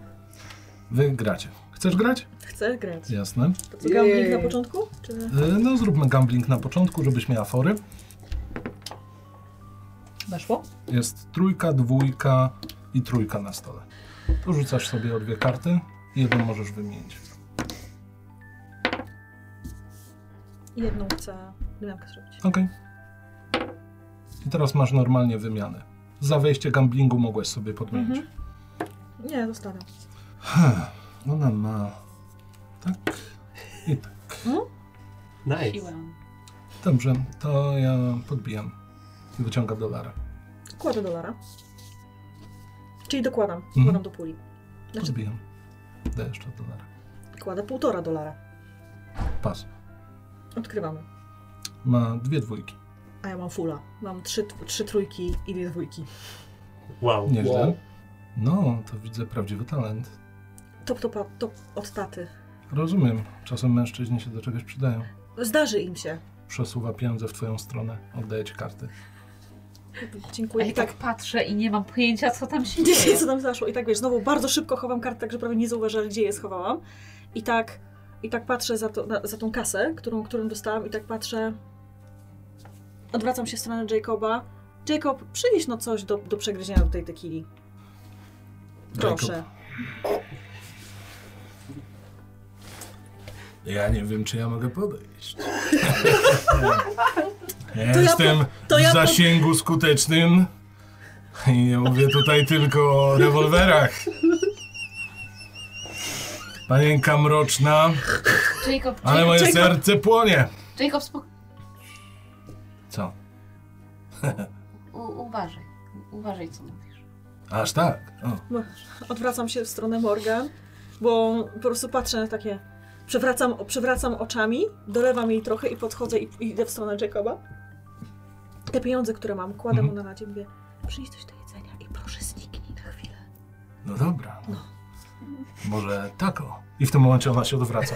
S1: Wy gracie. Chcesz grać?
S3: Chcę grać.
S1: Jasne.
S3: To co, gambling na początku? Czy...
S1: Y, No zróbmy gambling na początku, żebyś miała fory.
S4: Weszło?
S1: Jest trójka, dwójka i trójka na stole. Tu rzucasz sobie o dwie karty i jedną możesz wymienić.
S3: Jedną chcę dynamkę zrobić.
S1: Ok. I teraz masz normalnie wymianę. Za wejście gamblingu mogłeś sobie podmienić. Hm,
S3: Mhm. Nie, zostanę.
S1: Ona ma tak i tak.
S5: Nice.
S4: Siłę.
S1: Dobrze, to ja podbijam i wyciągam dolara.
S3: Kładę dolara. Czyli dokładam.
S1: Mhm.
S3: Wkładam do puli. Znaczy,
S1: Podbijam. Daj jeszcze dolara.
S3: kładę półtora dolara.
S1: Pas.
S3: Odkrywamy.
S1: Ma dwie dwójki.
S3: A ja mam fula. Mam trzy, trzy trójki i dwie dwójki.
S5: Wow.
S1: Nieźle.
S2: Wow.
S1: No, to widzę prawdziwy talent.
S3: Top, top, top od taty.
S1: Rozumiem. Czasem mężczyźni się do czegoś przydają.
S3: Zdarzy im się.
S1: przesuwa pieniądze w twoją stronę, oddaje ci karty.
S4: A
S3: Dziękuję.
S4: ja
S3: I tak.
S4: tak patrzę i nie mam pojęcia, co tam się
S3: Dzisiaj
S4: dzieje.
S3: co tam zaszło. I tak wiesz, znowu bardzo szybko chowam kartę, tak że prawie nie zauważyłam, gdzie je schowałam. I tak, i tak patrzę za, to, na, za tą kasę, którą, którą dostałam, i tak patrzę. Odwracam się w stronę Jacoba. Jacob, przynieś no coś do, do przegryzienia do tej tekili. Proszę.
S1: Ja nie wiem, czy ja mogę podejść.
S3: To ja
S1: jestem
S3: po- to ja
S1: w
S3: po-
S1: zasięgu skutecznym i nie mówię tutaj tylko o rewolwerach. Panienka mroczna,
S4: Jacob,
S1: ale moje
S4: Jacob, Jacob,
S1: serce płonie.
S4: Jacob spok-
S1: Co?
S4: u- uważaj. Uważaj, co mówisz.
S1: Aż tak. O.
S3: No, Odwracam się w stronę Morgan, bo po prostu patrzę na takie. Przewracam, przewracam oczami, dolewam jej trochę i podchodzę i, i idę w stronę Jacoba. Te pieniądze, które mam, kładę mu
S1: Mhm.
S3: na radzie, mówię, przyjdź coś do jedzenia i proszę zniknij na chwilę.
S1: No dobra. No. Może tako. I w tym momencie ona się odwraca.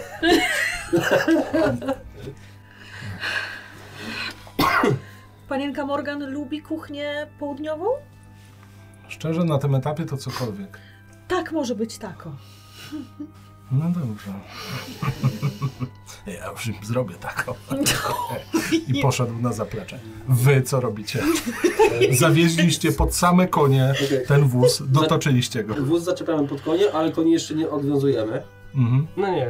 S3: Panienka Morgan lubi kuchnię południową?
S1: Szczerze, na tym etapie to cokolwiek.
S3: Tak może być tako.
S1: No dobrze. Ja już im zrobię taką. I poszedł na zaplecze. Wy co robicie?
S2: No.
S1: Zawieźliście pod same konie
S2: Okej.
S1: ten wóz, dotoczyliście go.
S2: Wóz zaczepiamy pod konie, ale koni jeszcze nie odwiązujemy.
S1: Mhm.
S5: No nie.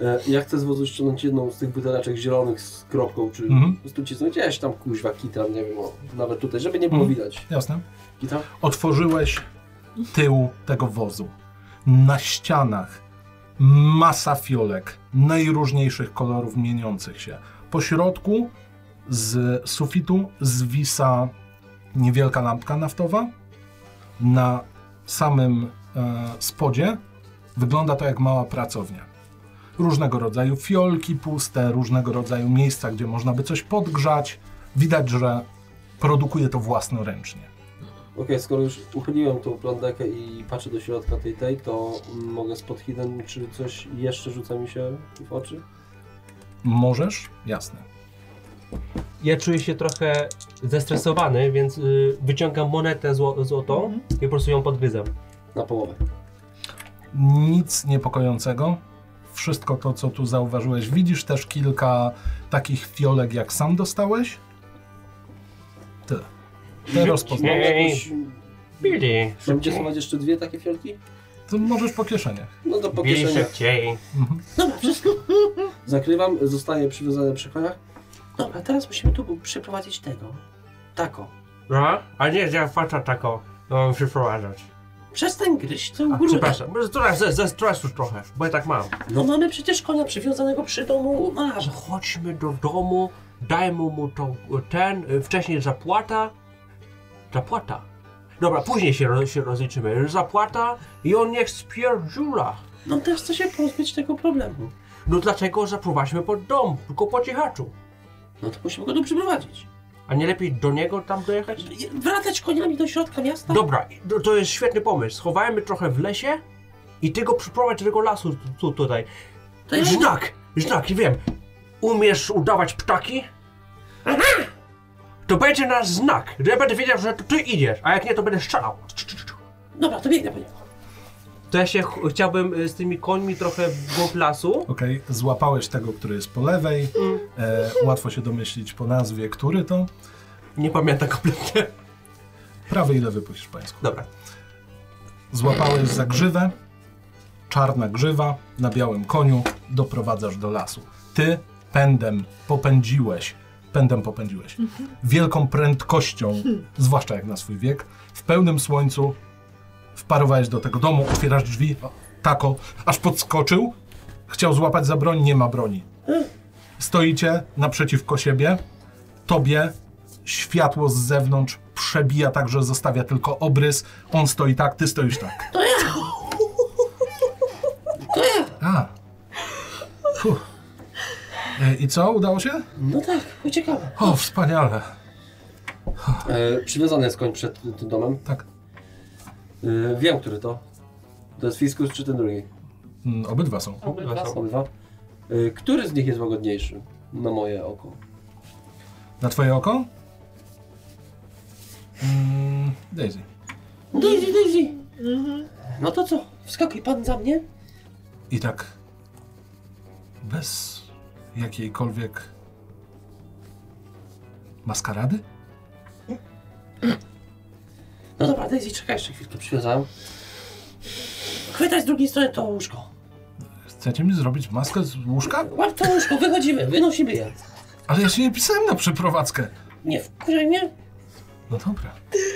S2: E, Ja chcę z wozu ściągnąć jedną z tych buteleczek zielonych z kropką, czy
S1: Mhm.
S2: po prostu cisnąć gdzieś tam kuźwa kitran, nie wiem, o, nawet tutaj, żeby nie było
S1: Mhm.
S2: widać.
S1: Jasne.
S2: Kitran?
S1: Otworzyłeś tył tego wozu. Na ścianach masa fiolek najróżniejszych kolorów mieniących się. Po środku z sufitu zwisa niewielka lampka naftowa. Na samym e, spodzie wygląda to jak mała pracownia. Różnego rodzaju fiolki puste, różnego rodzaju miejsca, gdzie można by coś podgrzać. Widać, że produkuje to własnoręcznie.
S2: Okej, skoro już uchyliłem tą plandekę i patrzę do środka tej tej, to mogę spod hidden, czy coś jeszcze rzuca mi się w oczy?
S1: Możesz? Jasne.
S5: Ja czuję się trochę zestresowany, więc y, wyciągam monetę zło złotą i po prostu ją podgryzam.
S2: Na połowę.
S1: Nic niepokojącego. Wszystko to, co tu zauważyłeś. Widzisz też kilka takich fiolek, jak sam dostałeś. Tyle. Te rozpoznaj.
S2: Mam
S5: Ej.
S2: jakąś...
S5: Bili.
S2: Będziecie schować jeszcze dwie takie fiolki?
S1: To możesz po kieszeniach.
S2: No to po
S5: Bili
S2: kieszeniach.
S5: szybciej.
S1: Mhm.
S2: Zakrywam, zostaje przywiązane przy koniach. Dobra, teraz musimy tu przeprowadzić tego. Tako.
S5: No, a nie, że ja facza tak, tako mam przyprowadzać.
S2: Przestań gryźć tą
S5: A,
S2: górę.
S5: przepraszam, teraz ze, ze stresu trochę, bo ja tak mam.
S2: No mamy przecież konia przywiązanego przy domu
S5: A,
S2: masz.
S5: że chodźmy do domu, dajmy mu to, ten, y, wcześniej zapłata. Zapłata. Dobra, później się, roz, się rozliczymy. Zapłata i on niech spierdziula.
S2: No też chce się pozbyć tego problemu.
S5: No dlaczego zaprowadźmy pod dom, tylko po cichaczu?
S2: No to musimy go tu przyprowadzić.
S5: A nie lepiej do niego tam dojechać?
S2: Wracać koniami do środka miasta?
S5: Dobra, to- to jest świetny pomysł. Schowajmy trochę w lesie i ty go przyprowadź do tego lasu tu, tu, tutaj.
S2: To ja-
S5: Znak! Znak, wiem. Umiesz udawać ptaki? To będzie nasz znak, że ja będę wiedział, że to ty idziesz, a jak nie, to będę strzelał.
S2: Dobra, to biegnę po niego.
S5: To ja się ch- chciałbym y, z tymi końmi trochę w głąb lasu.
S1: Okej, złapałeś tego, który jest po lewej. E, łatwo się domyślić po nazwie, który to.
S5: Nie pamiętam kompletnie.
S1: Prawy i lewy po hiszpańsku.
S5: Dobra.
S1: Złapałeś za grzywę, czarna grzywa na białym koniu, doprowadzasz do lasu. Ty pędem popędziłeś, pędem popędziłeś, wielką prędkością, zwłaszcza jak na swój wiek, w pełnym słońcu wparowałeś do tego domu, otwierasz drzwi, o, tako, aż podskoczył, chciał złapać za broń, nie ma broni. Stoicie naprzeciwko siebie, tobie światło z zewnątrz przebija tak, że zostawia tylko obrys. On stoi tak, ty stoisz tak. To ja! To ja! A. Fuh. E, I co? Udało się?
S2: No tak, uciekamy.
S1: O, wspaniale.
S2: E, przywiązany jest koń przed tym domem.
S1: Tak.
S2: E, wiem, który to. To jest Fiskus czy ten drugi?
S1: Mm, Obydwa są.
S4: Obydwa są.
S2: Obydwa. E, który z nich jest łagodniejszy? Na moje oko.
S1: Na twoje oko? Mm, Daisy.
S2: Daisy, Daisy! No to co? Wskakuj pan za mnie?
S1: I tak bez jakiejkolwiek maskarady?
S2: No dobra, Daisy, czekaj jeszcze chwilkę, przywiązałem. Chwytaj z drugiej strony to łóżko.
S1: Chcecie mi zrobić maskę z łóżka?
S2: Łap to łóżko, wychodzimy, wynosimy je.
S1: Ale ja się nie pisałem na przeprowadzkę.
S2: Nie, wkurzaj mnie.
S1: No dobra.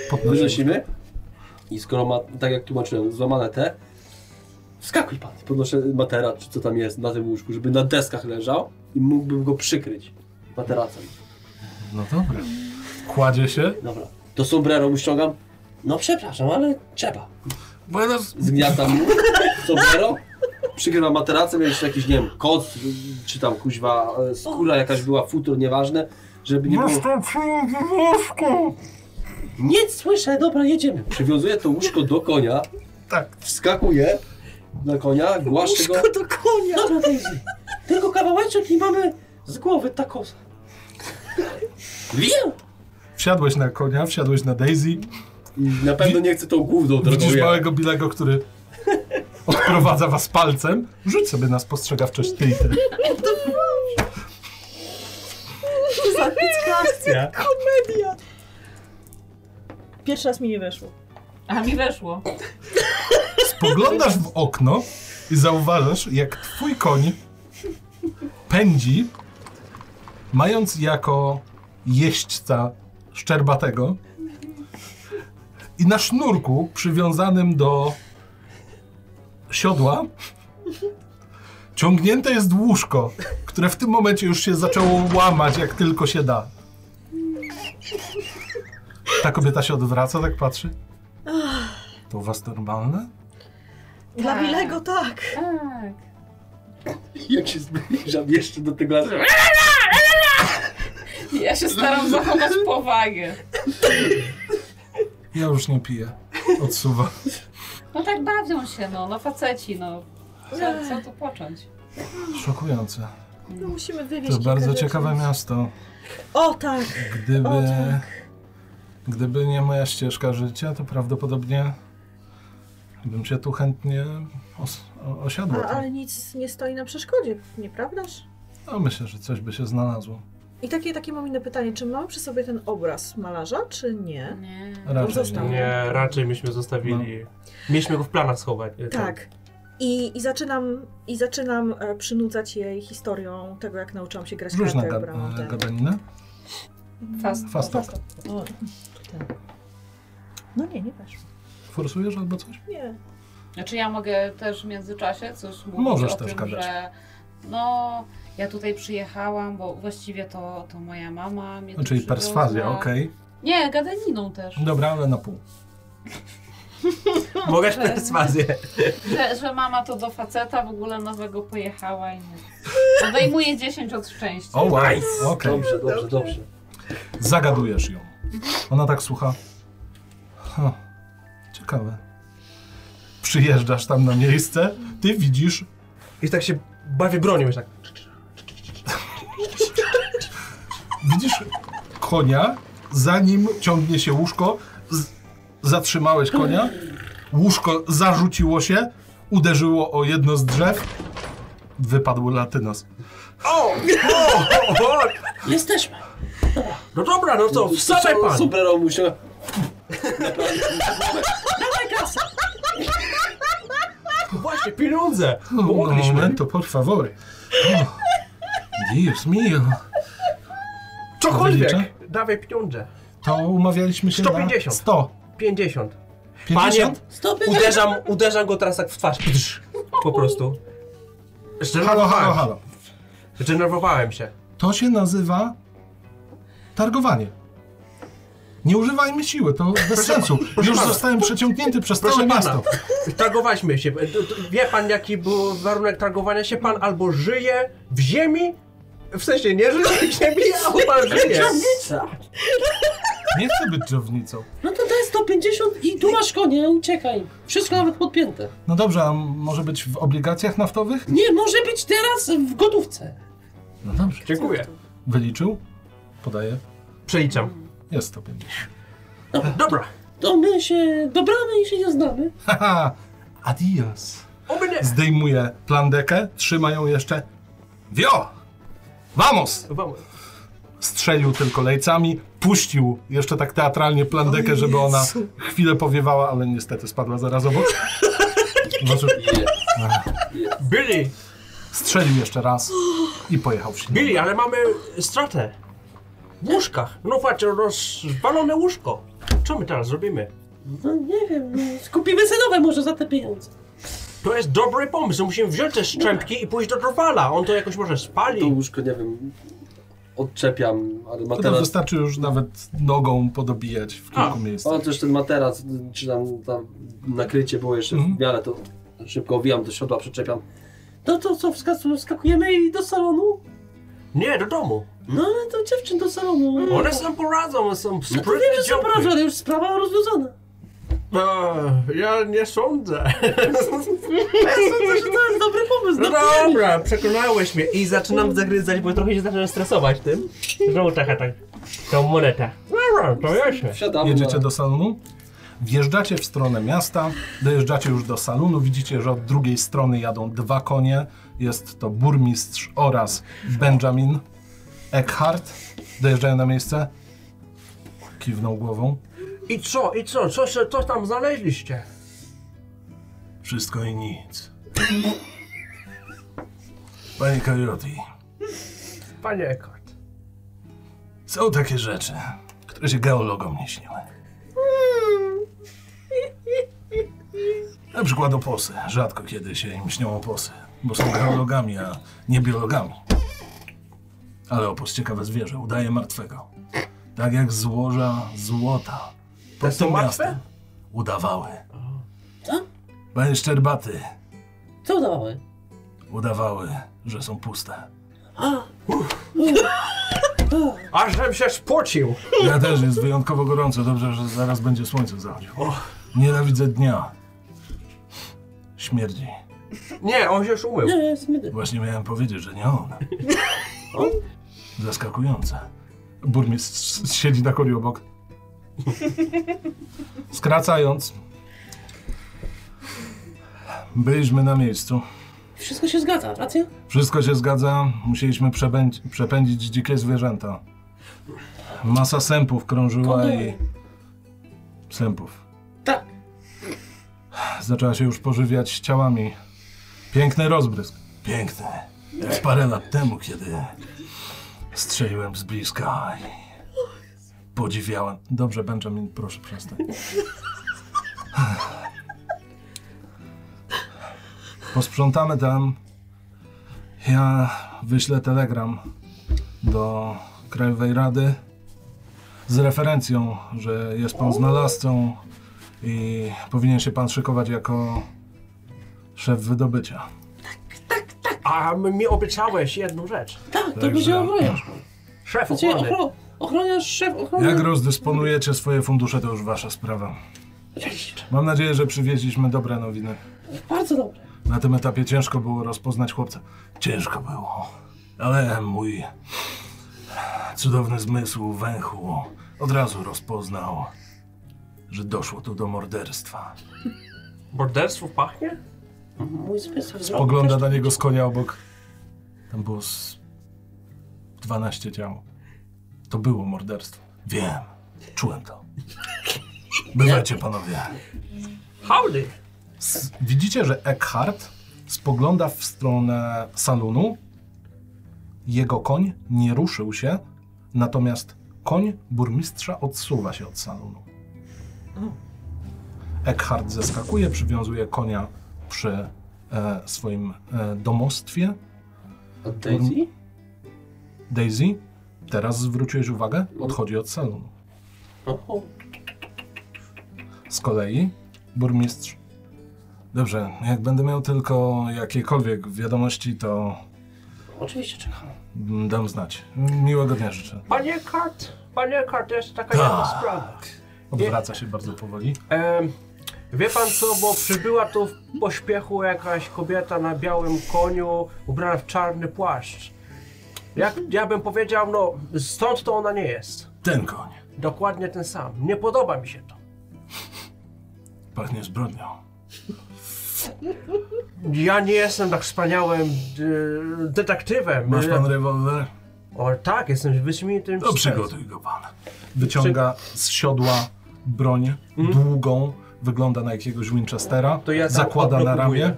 S1: Podnosi.
S2: Wynosimy. I skoro ma, tak jak tłumaczyłem, złamane te, wskakuj pan. Podnoszę materac, czy co tam jest na tym łóżku, żeby na deskach leżał i mógłbym go przykryć materacem.
S1: No dobra. Kładzie się.
S2: Dobra, to sombrero mu ściągam. No przepraszam, ale trzeba.
S1: Bo ja teraz...
S2: Zgniatam mu sombrero, przykrywam materacem, jeszcze jakiś, nie wiem, koc, czy tam kuźwa, e, skóra jakaś była, futro, nieważne, żeby
S1: No.
S2: nie było... Nic słyszę, dobra, jedziemy. Przywiązuję to łóżko do konia,
S1: Tak.
S2: wskakuję na konia, głaszczę go.
S3: Łóżko do konia!
S2: Dobra, Daisy, tylko kawałeczek i mamy z głowy takosa. Wiem!
S1: Wsiadłeś na konia, wsiadłeś na Daisy.
S2: I Na pewno nie chcę tą główną drogą
S1: Widzisz
S2: jechać.
S1: małego Bilego, który... odprowadza was palcem. Rzuć sobie na spostrzegawczość ty i ty.
S3: Zapicka
S1: Ja.
S3: komedia! Pierwszy raz mi nie weszło.
S4: A mi weszło.
S1: Spoglądasz w okno i zauważasz, jak twój koń pędzi, mając jako jeźdźca szczerbatego i na sznurku przywiązanym do siodła ciągnięte jest łóżko, które w tym momencie już się zaczęło łamać, jak tylko się da. Ta kobieta się odwraca, tak patrzy. To u was normalne?
S3: Dla
S4: Tak.
S3: Bilego tak!
S4: Tak.
S2: Jak się zbliżam jeszcze do tego...
S4: Ja się staram zachować powagę.
S1: Ja już nie piję. Odsuwa.
S4: No tak bawią się, no, no faceci, no. Co, co tu począć?
S1: Szokujące.
S3: No musimy
S1: To
S3: wywieźć
S1: jest
S3: kilka
S1: bardzo
S3: rzeczy.
S1: ciekawe miasto.
S3: O tak!
S1: Gdyby,
S3: O tak.
S1: gdyby nie moja ścieżka życia, to prawdopodobnie bym się tu chętnie os- o- osiadła.
S3: A,
S1: tam.
S3: ale nic nie stoi na przeszkodzie, nieprawdaż?
S1: No, myślę, że coś by się znalazło.
S3: I takie, takie mam inne pytanie, czy mamy przy sobie ten obraz malarza, czy nie?
S4: Nie.
S1: Raczej
S3: został.
S1: nie.
S5: Nie, raczej myśmy zostawili. Mieliśmy go w planach schować. e, tam.
S3: Tak. I, i zaczynam, i zaczynam e, przynudzać jej historią tego, jak nauczyłam się grać
S1: Różna
S3: kartek,
S1: ga-
S3: brałam ten.
S1: gadanina.
S4: Fast.
S1: Fastok.
S3: O, ten. No nie, nie weszło.
S1: Forsujesz albo coś?
S3: Nie.
S4: Znaczy ja mogę też w międzyczasie coś mówić
S1: Możesz
S4: o
S1: też
S4: tym,
S1: gadać.
S4: że no ja tutaj przyjechałam, bo właściwie to, to moja mama mnie tu
S1: No, czyli
S4: przywiozła.
S1: perswazja, okej.
S4: Nie, gadaniną też.
S1: Dobra, ale na pół.
S5: Mogę
S4: Że-
S5: perswazję.
S4: Że, że mama to do faceta w ogóle nowego pojechała i nie. Odejmuje 10 od szczęścia.
S1: O, wow. Okej.
S5: Nice.
S2: Dobrze, dobrze, dobrze.
S1: Zagadujesz ją. Ona tak słucha. Ha, ciekawe. Przyjeżdżasz tam na miejsce, ty widzisz,
S5: I tak się bawię bronią, już tak.
S1: widzisz konia, za nim ciągnie się łóżko, z- zatrzymałeś konia, łóżko zarzuciło się, uderzyło o jedno z drzew, wypadł latynos. No,
S5: O! O! o!
S2: Jesteśmy!
S5: No dobra, no to wstawaj pan!
S2: Super, on musiał...
S5: Właśnie, pieniądze!
S1: Pomogliśmy.
S5: Pomogliśmy.
S1: Momento, no, por favor. Oh, Dios mio.
S5: Cokolwiek!
S1: Wyliczę?
S5: Dawaj pieniądze.
S1: To umawialiśmy się na
S5: 150.
S1: 100.
S5: 50.
S1: 50?
S2: Stopy!
S5: Uderzam, uderzam go teraz tak w twarz. Pdrz. Po prostu.
S1: Halo, halo,
S5: Zdenerwowałem się.
S1: halo.
S5: Zdenerwowałem się.
S1: To się nazywa targowanie. Nie używajmy siły, to bez sensu. Już
S5: pana.
S1: zostałem przeciągnięty przez
S5: Proszę
S1: całe
S5: pana.
S1: miasto.
S5: Targowaliśmy się. D- d- Wie pan jaki był warunek targowania się? Pan albo żyje w ziemi, w sensie nie żyje w ziemi, albo pan żyje.
S1: Nie chcę być dżownicą.
S2: No to daj 150 i tu masz konie, uciekaj. Wszystko nawet podpięte.
S1: No dobrze, a może być w obligacjach naftowych?
S2: Nie, może być teraz w gotówce.
S1: No dobrze.
S5: Dziękuję.
S1: Wyliczył? Podaję.
S5: Przeliczam.
S1: Jest 150.
S5: Dobra.
S2: To my się dobramy i się nie znamy.
S1: Haha, adios.
S5: Oby nie.
S1: Zdejmuje plandekę, trzyma ją jeszcze. Wio! Vamos!
S5: Wam-
S1: Strzelił tylko lejcami, puścił jeszcze tak teatralnie plandekę, żeby ona chwilę powiewała, ale niestety spadła zaraz obok. Znaczy,
S5: Billy,
S1: Strzelił jeszcze raz i pojechał w ślub.
S5: Billy, ale mamy stratę. W łóżkach. No patrz, rozwalone łóżko. Co my teraz zrobimy?
S2: No nie wiem, no, skupimy se nowe może za te pieniądze.
S5: To jest dobry pomysł. Musimy wziąć te szczępki i pójść do Drwala. On to jakoś może
S2: To
S5: spali.
S2: łóżko, nie wiem, odczepiam, ale
S1: To tam
S2: materac...
S1: wystarczy już nawet nogą podobijać w kilku miejscach.
S2: O, też ten materac, czy tam, tam nakrycie było jeszcze
S1: Mhm.
S2: w miarę, to szybko owijam do siodła, przyczepiam. No to co, wskac- wskakujemy i do salonu?
S5: Nie, do domu.
S2: No ale to dziewczyn do
S1: Mm.
S2: salonu.
S5: One sam poradzą, są
S2: No to wiem, że
S5: sprytne
S2: są
S5: działki.
S2: porażone, już sprawa rozwiązana.
S5: Eee, ja nie sądzę.
S2: To się- to jest dobry pomysł,
S5: No
S2: dobry.
S5: dobra, przekonałeś mnie i zaczynam zagryzać, bo trochę się zaczynam stresować tym. Znowu taka tak, tą monetę. Dobra, to ja się.
S2: Wsiadamy
S1: Jedziecie
S2: na-
S1: do salonu? Wjeżdżacie w stronę miasta, dojeżdżacie już do salonu, widzicie, że od drugiej strony jadą dwa konie. Jest to burmistrz oraz Benjamin Eckhart. Dojeżdżają na miejsce. Kiwnął głową.
S5: I co, i co, co, się, co tam znaleźliście?
S1: Wszystko i nic. Panie Coyote,
S5: Panie Eckhart.
S1: są takie rzeczy, które się geologom nie śniły. Na przykład oposy. Rzadko kiedy się im śnią oposy, bo są geologami, a nie biologami. Ale opos ciekawe zwierzę, udaje martwego. Tak jak złoża złota.
S5: Te
S1: Pod
S5: są
S1: tym
S5: martwe?
S1: miastem udawały.
S2: Co?
S1: Panie Szczerbaty,
S2: Co dały?
S1: udawały, że są puste.
S5: Aż żem się spocił!
S1: Ja też, jest wyjątkowo gorąco. Dobrze, że zaraz będzie słońce zachodziło. Nienawidzę dnia. Śmierdzi.
S5: Nie, on się już umył.
S2: Nie, jest mydy.
S1: Właśnie miałem powiedzieć, że nie on. Zaskakujące. Burmistrz siedzi na koniu obok. Skracając. Byliśmy na miejscu.
S2: Wszystko się zgadza, racja? Tak,
S1: Wszystko się zgadza. Musieliśmy przebędź, przepędzić dzikie zwierzęta. Masa sępów krążyła i... Sępów.
S2: Tak.
S1: Zaczęła się już pożywiać ciałami. Piękny rozbrysk. Piękny. Jak parę lat temu, kiedy strzeliłem z bliska i podziwiałem. Dobrze, Benjamin, proszę przestań. Posprzątamy tam. Ja wyślę telegram do Krajowej Rady z referencją, że jest pan znalazcą i powinien się pan szykować jako szef wydobycia.
S5: A m- mi obiecałeś jedną rzecz.
S2: Tak, to
S1: Także-
S2: będzie ochroniarz.
S5: Szef
S2: Znaczy,
S5: ochrony.
S2: ochro, ochroniarz, szef ochrony.
S1: Jak rozdysponujecie swoje fundusze, to już wasza sprawa. Mam nadzieję, że przywieźliśmy dobre nowiny.
S2: Bardzo dobre.
S1: Na tym etapie ciężko było rozpoznać chłopca. Ciężko było. Ale mój cudowny zmysł węchu od razu rozpoznał, że doszło tu do morderstwo.
S5: Morderstwo pachnie?
S2: Mój zmysł wzroku
S1: Ogląda
S2: też-
S1: na niego z konia obok. Tam było z 12 ciał. To było morderstwo. Wiem. Czułem to. Bywajcie panowie.
S5: Howdy!
S1: S- Widzicie, że Eckhart spogląda w stronę salonu. Jego koń nie ruszył się, natomiast koń burmistrza odsuwa się od salonu. Eckhart zeskakuje, przywiązuje konia przy e, swoim e, domostwie.
S2: Od Daisy?
S1: Daisy, teraz zwróciłeś uwagę, odchodzi od salonu. No.
S2: Oho.
S1: Z kolei burmistrz. Dobrze, jak będę miał tylko jakiekolwiek wiadomości, to
S2: Oczywiście czekam.
S1: Mm, Dam znać. Miłego dnia życzę.
S5: Panie Eckhart, panie Eckhart, jest taka
S1: Tak.
S5: jedna sprawa.
S1: Odwraca się bardzo powoli.
S5: Em, wie pan co, bo przybyła tu w pośpiechu jakaś kobieta na białym koniu, ubrana w czarny płaszcz. Jak ja bym powiedział, no stąd to ona nie jest.
S1: Ten koń
S5: Dokładnie ten sam. Nie podoba mi się to.
S1: pachnie zbrodnią.
S5: Ja nie jestem tak wspaniałym e, detektywem.
S1: Masz
S5: E,
S1: pan rewolwer?
S5: O tak, jestem wyśmienitym.
S1: To przygotuj go pan. Wyciąga z siodła broń długą, wygląda na jakiegoś Winchestera,
S5: Mhm. To ja tam
S1: zakłada na
S5: odblokuję.
S1: ramię.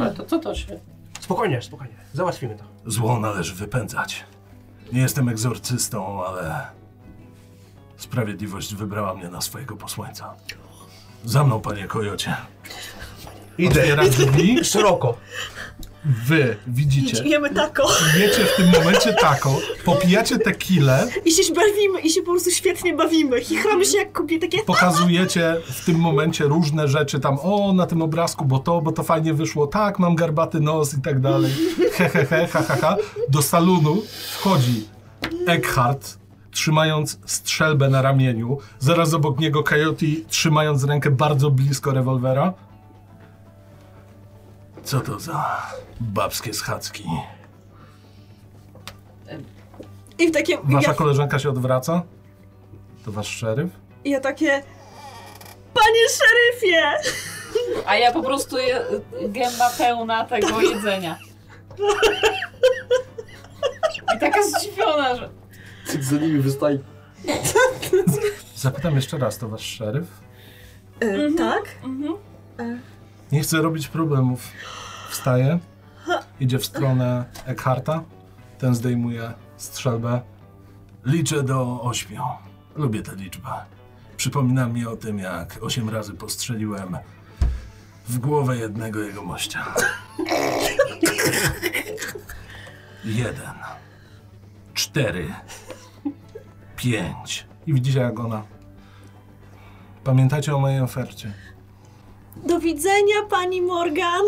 S2: Ale to co to się?
S5: Spokojnie, spokojnie. Załatwimy to.
S1: Zło należy wypędzać. Nie jestem egzorcystą, ale sprawiedliwość wybrała mnie na swojego posłańca. Za mną, panie kojocie. Otwiera drzwi.
S5: Szeroko.
S1: Wy widzicie,
S3: Jemy tako
S1: Jecie w tym momencie taco, popijacie tequilę,
S3: i się bawimy, i się po prostu świetnie bawimy. Chichramy się jak kupię takie...
S1: pokazujecie w tym momencie różne rzeczy tam, o, na tym obrazku, bo to, bo to fajnie wyszło, tak, mam garbaty nos i tak dalej, he, he, he, ha, ha, ha. Do salonu wchodzi Eckhart, trzymając strzelbę na ramieniu, zaraz obok niego Coyote, trzymając rękę bardzo blisko rewolwera. Co to za babskie schadzki?
S3: I w takie...
S1: Wasza
S3: ja,
S1: koleżanka się odwraca? To wasz szeryf?
S3: ja takie... Panie szeryfie!
S4: A ja po prostu je, gęba pełna tego jedzenia. I taka zdziwiona, że
S2: Cyk za nimi wystaje.
S1: Zapytam jeszcze raz, to wasz szeryf?
S3: E,
S4: Mhm.
S3: Tak?
S4: mhm.
S3: E,
S1: Nie chcę robić problemów. Wstaje, idzie w stronę Eckharta. Ten zdejmuje strzelbę. Liczę do ośmiu. Lubię tę liczbę. Przypomina mi o tym, jak osiem razy postrzeliłem w głowę jednego jego mościa. Jeden. Cztery. Pięć. I widzicie, jak ona. Pamiętajcie o mojej ofercie.
S3: do widzenia, pani Morgan!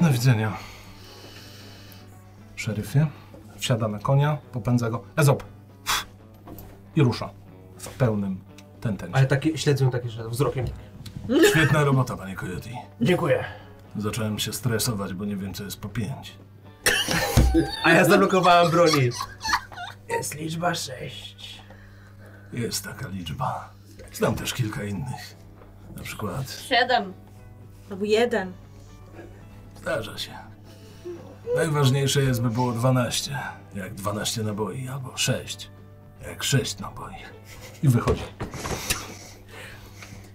S1: Do widzenia. Szeryfie wsiada na konia, popędza go. Ezop! I rusza w pełnym
S5: Ale
S1: tentencie.
S5: takie, śledzą takie, że wzrokiem.
S1: Świetna robota, panie Coyote.
S5: Dziękuję.
S1: Zacząłem się stresować, bo nie wiem, co jest po pięć.
S5: A ja zablokowałem broni. Jest liczba 6.
S1: Jest taka liczba. Znam też kilka innych. Na przykład
S4: siedem.
S3: Albo jeden.
S1: zdarza się. Najważniejsze jest, by było 12, jak 12 naboi, albo 6, jak 6 naboi. I wychodzi.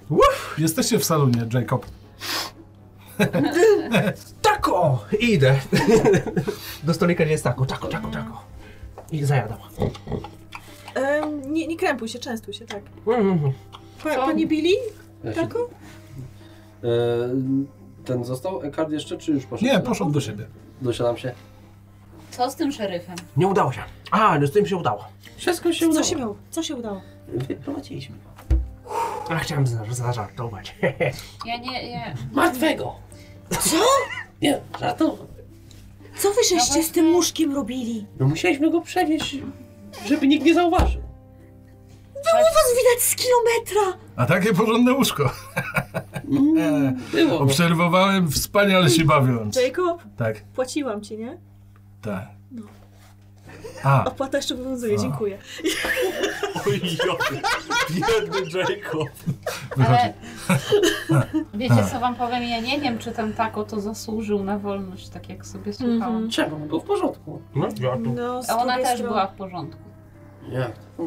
S1: Uff, jesteście w salonie, Jacob.
S5: Tako! I idę. Do stolika nie jest tako. Tako, tako, tako. I zajadam.
S3: E, nie, nie krępuj się, częstuj się, tak.
S5: Mhm.
S3: Pa,
S4: Co?
S3: pani Billy?
S2: Ja się-
S3: Taku?
S2: E, ten został Ekard jeszcze, czy już poszedł?
S1: Nie, poszedł do siebie.
S2: Dosiadam się.
S4: Co z tym szeryfem?
S5: Nie udało się. A, no z tym się udało.
S2: Wszystko się
S3: Co
S2: udało.
S3: się miało? Co się udało?
S2: Wyprowadziliśmy.
S5: A chciałem za- zażartować.
S4: Ja nie, ja...
S2: Martwego!
S3: Co?
S2: Nie, żartowo.
S3: Co wy żeście z tym muszkiem robili?
S2: No musieliśmy go przewieźć, żeby nikt nie zauważył.
S3: Was widać z kilometra!
S1: A takie porządne łóżko.
S2: Mm, było. go.
S1: Obserwowałem, wspaniale się bawiąc.
S3: Jacob,
S1: Tak,
S3: płaciłam ci, nie?
S1: tak.
S2: No.
S1: A,
S3: Opłata jeszcze obowiązuje,
S1: A.
S3: dziękuję.
S5: Oj, biedny Jacob.
S1: wychodzi.
S4: Ale... Wiecie co wam powiem? Ja nie wiem, czy ten tako to zasłużył na wolność, tak jak sobie słuchałam.
S3: Mhm.
S2: Trzeba, był w porządku.
S5: No, ja tu.
S3: No, z
S4: A ona
S3: drugiej
S4: też
S3: strony-
S4: była w porządku.
S2: Jak? to?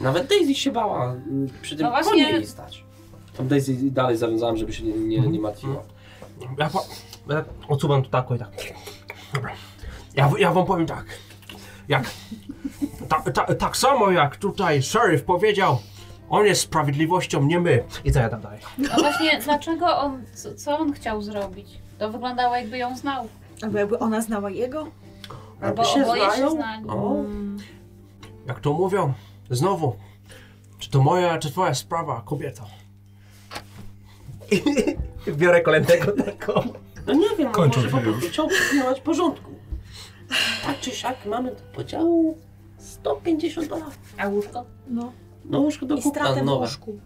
S2: Nawet Daisy się bała. mm, Przy tym
S4: No
S2: no
S4: właśnie.
S2: właśnie... jej stać. Tam Daisy dalej zawiązałem, żeby się nie, nie,
S3: Mhm.
S2: nie martwiła.
S5: Ja, po- ja odsuwam to tako i tak. Dobra. Ja, w- ja wam powiem tak. Jak. Ta, ta, tak samo jak tutaj sheriff powiedział, on jest sprawiedliwością, nie my. I co ja tam dalej?
S4: No właśnie, dlaczego on, co, co on chciał zrobić? To wyglądało jakby ją znał.
S3: Albo jakby ona znała jego?
S4: Albo
S2: Aby się
S4: oboje się
S2: znają?
S4: znali.
S2: O.
S5: Jak to mówią, znowu, czy to moja, czy twoja sprawa, kobieta? Biorę kolejnego tako.
S2: No nie wiem,
S1: Kończą
S2: może
S1: się
S2: po prostu
S1: już.
S2: chciał pilnować porządku. Tak czy siak mamy do podziału 150 dolarów.
S4: A łóżko?
S3: No.
S2: No łóżko do
S3: I stratę
S2: kupna
S3: w
S2: nowe.
S3: łóżku.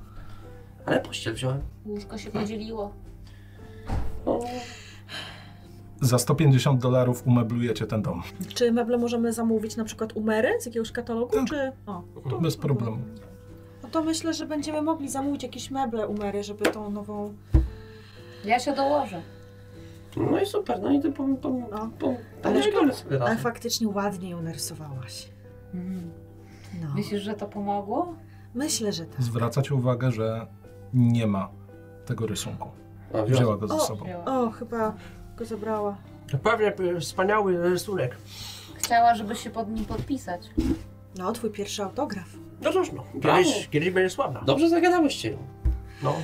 S2: Ale pościel wziąłem.
S4: Łóżko się podzieliło.
S2: O,
S1: Za 150 dolarów umeblujecie ten dom.
S3: Czy meble możemy zamówić na przykład u Mary z jakiegoś katalogu,
S1: Tak.
S3: czy... O.
S1: To bez problemu.
S3: No to myślę, że będziemy mogli zamówić jakieś meble u Mary, żeby tą nową...
S4: Ja się dołożę.
S2: no i super, no i to pom, pom,
S3: No.
S2: pom,
S3: Ale-
S2: pomieszkamy sobie
S3: Ale
S2: razem.
S3: faktycznie ładnie ją narysowałaś. No.
S4: Myślisz, że to pomogło?
S3: Myślę, że tak.
S1: Zwracacie uwagę, że nie ma tego rysunku.
S2: A,
S1: Wzięła go ze
S3: O.
S1: sobą.
S3: O, chyba go zabrała.
S5: To pewnie y, wspaniały rysunek.
S4: Chciała, żeby się pod nim podpisać.
S3: No, twój pierwszy autograf.
S5: No cóż, no,
S2: Brawo.
S5: kiedyś, kiedyś będzie sławna.
S2: Dobrze zagadałeś się ją.
S5: No.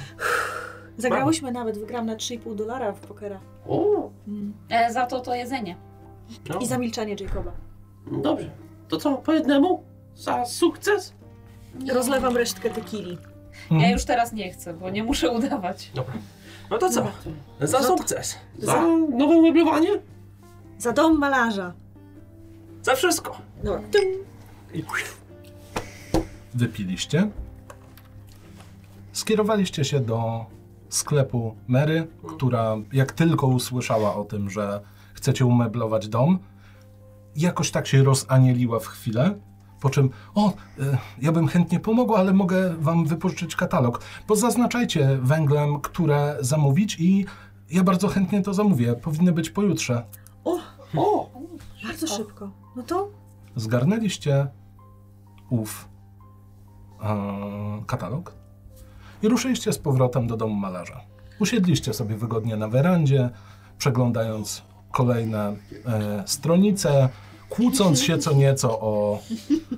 S3: Zagrałyśmy nawet, wygram na 3,5 dolara w pokera.
S2: O,
S4: E, za to to jedzenie.
S5: no.
S3: I za milczenie Jacoba.
S2: no dobrze. To co, po jednemu? Za sukces?
S4: Nie.
S3: Rozlewam resztkę tequili.
S4: Ja
S1: Mhm.
S4: już teraz nie chcę, bo nie muszę udawać.
S5: Dobra. No to co? Za
S3: No to-
S5: sukces.
S2: Za nowe umeblowanie?
S3: Za dom malarza.
S5: Za wszystko.
S3: Dobra. Tum.
S5: I...
S1: Wypiliście. Skierowaliście się do sklepu Mary, która jak tylko usłyszała o tym, że chcecie umeblować dom, jakoś tak się rozanieliła w chwilę. Po czym, o, e, ja bym chętnie pomogła, ale mogę wam wypożyczyć katalog. Pozaznaczajcie węglem, które zamówić i ja bardzo chętnie to zamówię. Powinny być pojutrze.
S3: O,
S2: O,
S3: bardzo szybko. No to
S1: Zgarnęliście ów e, katalog i ruszyliście z powrotem do domu malarza. Usiedliście sobie wygodnie na werandzie, przeglądając kolejne e, stronice, kłócąc się co nieco o,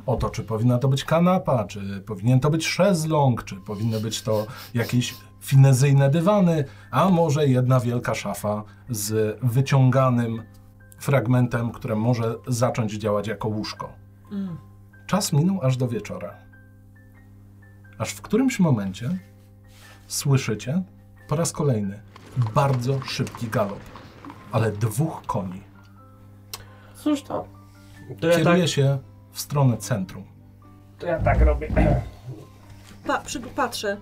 S1: o to, czy powinna to być kanapa, czy powinien to być szezlong, czy powinny być to jakieś finezyjne dywany, a może jedna wielka szafa z wyciąganym fragmentem, które może zacząć działać jako łóżko. Czas minął aż do wieczora. Aż w którymś momencie słyszycie po raz kolejny bardzo szybki galop, ale dwóch koni
S2: cóż tam.
S5: To ja tak,
S1: kieruje się w stronę centrum.
S5: to ja tak robię.
S3: pa, przy, patrzę.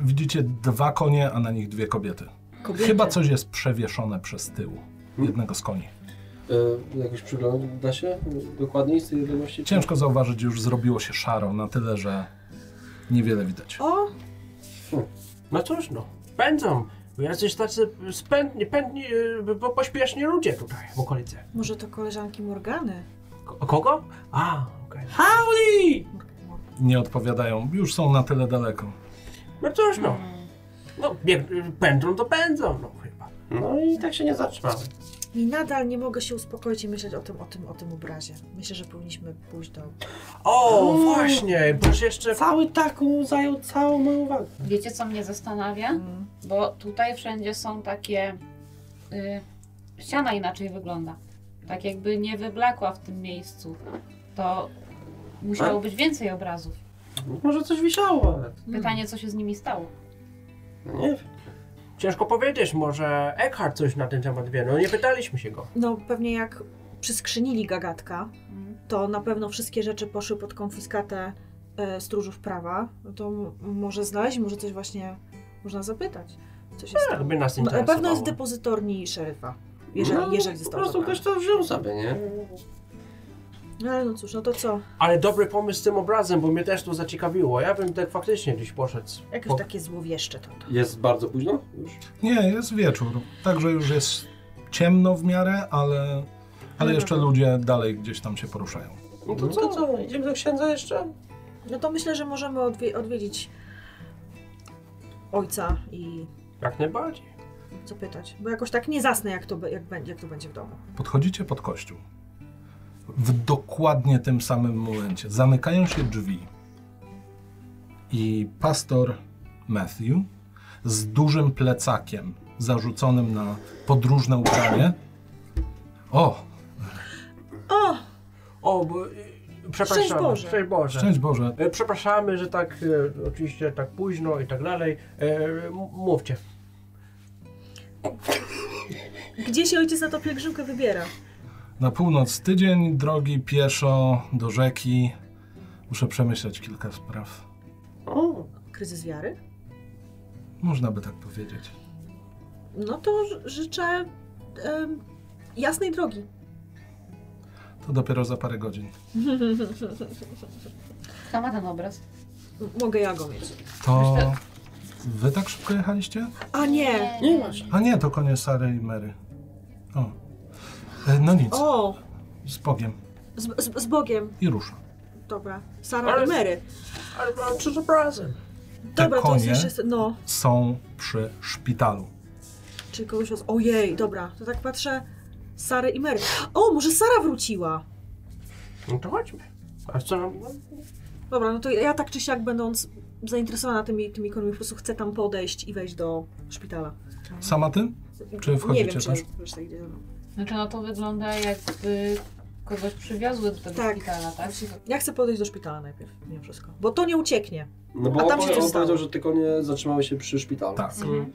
S1: Widzicie dwa konie, a na nich dwie kobiety.
S3: Kobiety.
S1: Chyba coś jest przewieszone przez tył jednego z koni.
S2: E, jakoś przygląd da się dokładniej z tej wiadomości?
S1: Ciężko zauważyć, już zrobiło się szaro na tyle, że niewiele widać.
S3: O,
S5: No cóż no, pędzą. Jacyś tacy spędni, pędni, y, po- pośpieszni ludzie tutaj w okolicy.
S3: może to koleżanki Morgany?
S5: Ko- kogo? A, okej. Howdy!
S1: Nie odpowiadają, już są na tyle daleko.
S5: No cóż no.
S4: Mhm.
S5: No, bieg, pędzą to pędzą, no chyba.
S2: No i tak się nie zatrzymamy.
S3: I nadal nie mogę się uspokoić i myśleć o tym, o tym, o tym obrazie. Myślę, że powinniśmy pójść do...
S5: O,
S2: Mm.
S5: właśnie, przecież jeszcze...
S2: Cały tak mu zajął całą moją uwagę.
S4: Wiecie, co mnie zastanawia?
S3: Mm.
S4: Bo tutaj wszędzie są takie. Y, ściana inaczej wygląda. Tak jakby nie wyblakła w tym miejscu. To musiało być więcej obrazów.
S2: Może coś wisiało, ale
S4: Pytanie, co się z nimi stało.
S2: no nie wiem.
S5: Ciężko powiedzieć, może Eckhart coś na ten temat wie, no nie pytaliśmy się go.
S3: No pewnie jak przyskrzynili gagatka,
S4: Mm.
S3: to na pewno wszystkie rzeczy poszły pod konfiskatę e, stróżów prawa. No to m- może znaleźć, może coś właśnie można zapytać. Co się
S5: Tak
S3: stało?
S5: by nas
S3: Na
S5: interesowało.
S3: No, pewno jest depozytorni szeryfa. Jeżeli,
S2: no,
S3: jeżeli
S2: Po
S3: został
S2: prostu ktoś
S3: zabrany.
S2: to wziął sobie, nie?
S3: No ale no cóż, no to co?
S5: Ale dobry pomysł z tym obrazem, bo mnie też to zaciekawiło. Ja bym tak faktycznie gdzieś poszedł.
S3: Jakieś
S5: Po-
S3: takie złowieszcze to. to.
S2: Jest bardzo późno już.
S1: Nie, jest wieczór. Także już jest ciemno w miarę, ale, ale jeszcze ludzie dalej gdzieś tam się poruszają.
S5: No
S2: To co, co? Idziemy do księdza jeszcze?
S3: No to myślę, że możemy odwie- odwiedzić ojca i
S5: Jak najbardziej.
S3: zapytać. Bo jakoś tak nie zasnę, jak to, be- jak będzie, jak to będzie w domu.
S1: Podchodzicie pod kościół. W dokładnie tym samym momencie zamykają się drzwi i pastor Matthew z dużym plecakiem zarzuconym na podróżne ubranie. O,
S3: O!
S5: O, bo, y, przepraszamy.
S3: Szczęść Boże.
S5: Szczęść Boże.
S1: szczęść Boże,
S5: E, Przepraszamy, że tak e, oczywiście tak późno i tak dalej. E, m- mówcie.
S3: Gdzie się ojciec na tą pielgrzymkę wybiera?
S1: Na północ tydzień drogi pieszo do rzeki. Muszę przemyśleć kilka spraw.
S2: O,
S3: Kryzys wiary?
S1: Można by tak powiedzieć.
S3: No to ż- życzę em, jasnej drogi.
S1: To dopiero za parę godzin.
S4: Kto ma ten obraz?
S3: M- Mogę ja go mieć.
S1: To wy tak szybko jechaliście?
S3: A nie!
S2: nie masz.
S1: A nie, to konie Sary i Mary. O. E, No nic,
S3: O!
S1: z Bogiem.
S3: Z, z, z Bogiem.
S1: I rusza.
S3: Dobra. Sara
S5: Ale-
S3: i Mary.
S5: Ale mam trzy obrazem.
S3: Dobra, to
S1: konie?
S3: jest jeszcze... No.
S1: Są przy szpitalu.
S3: Czy kogoś... Roz... Ojej, dobra. To tak patrzę... Sary i Mary. O, może Sara wróciła!
S5: No to chodźmy. A co no, nam...
S3: Dobra, no to ja tak czy siak będąc zainteresowana tymi, tymi konami, po prostu chcę tam podejść i wejść do szpitala.
S1: Sama ty? Czy
S3: Nie
S1: wchodzicie
S3: wiem, czy
S1: też?
S3: wiesz, tak idzie.
S4: Znaczy, no to wygląda jakby kogoś przywiozły do tego
S3: Tak.
S4: szpitala, tak?
S3: Ja chcę podejść do szpitala najpierw, mimo wszystko. Bo to nie ucieknie.
S2: No
S3: A
S2: bo
S3: tam
S2: on,
S3: się coś
S2: on
S3: stało.
S2: powiedział, że tylko nie zatrzymały się przy szpitalu.
S1: Tak.
S4: Mhm.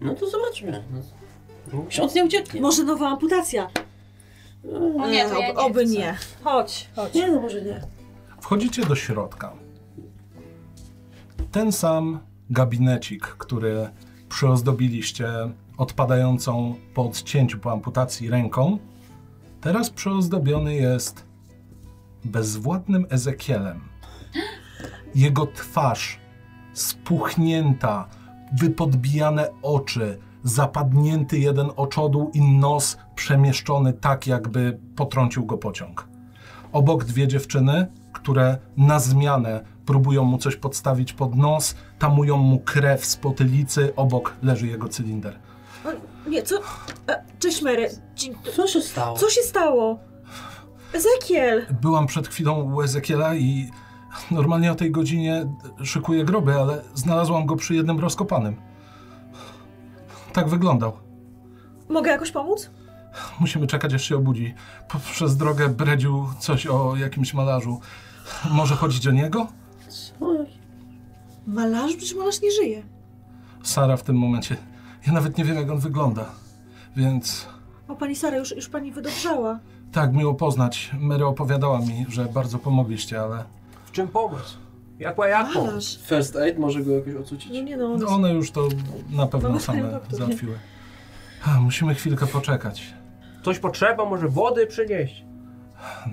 S2: No to zobaczmy. No. Ksiądz nie ucieknie.
S3: Może nowa amputacja?
S4: O nie, to ja
S3: E, Oby-
S4: nie
S3: Mm. oby
S4: chcę.
S3: nie. Chodź, chodź.
S2: Nie no, może nie.
S1: Wchodzicie do środka. Ten sam gabinecik, który przyozdobiliście odpadającą po odcięciu, po amputacji ręką, teraz przyozdobiony jest bezwładnym Ezekielem. Jego twarz spuchnięta, wypodbijane oczy, zapadnięty jeden oczodół i nos przemieszczony tak, jakby potrącił go pociąg. Obok dwie dziewczyny, które na zmianę próbują mu coś podstawić pod nos, tamują mu krew z potylicy, obok leży jego cylinder.
S3: O, nie, co? E, Cześć Mary. Dzień-
S2: Co się stało?
S3: Co się stało? Ezekiel!
S1: Byłam przed chwilą u Ezekiela i normalnie o tej godzinie szykuję groby, ale znalazłam go przy jednym rozkopanym. Tak wyglądał.
S3: Mogę jakoś pomóc?
S1: Musimy czekać, aż się obudzi. Po- Przez drogę bredził coś o jakimś malarzu. Może chodzić o niego?
S2: Co?
S3: Malarz? Przecież malarz nie żyje.
S1: Sara w tym momencie. Ja nawet nie wiem, jak on wygląda. Więc
S3: O, pani Sara, już, już pani wydobrzała.
S1: tak, miło poznać. Mary opowiadała mi, że bardzo pomogliście, ale
S5: W czym pomóc? Jakła jaką?
S3: Malarz.
S2: First aid może go jakoś ocucić?
S3: No nie no,
S1: no one już to na pewno
S3: Mamy
S1: same
S3: doktor, nie?
S1: załatwiły. A, Musimy chwilkę poczekać.
S5: Coś potrzeba, może wody przynieść?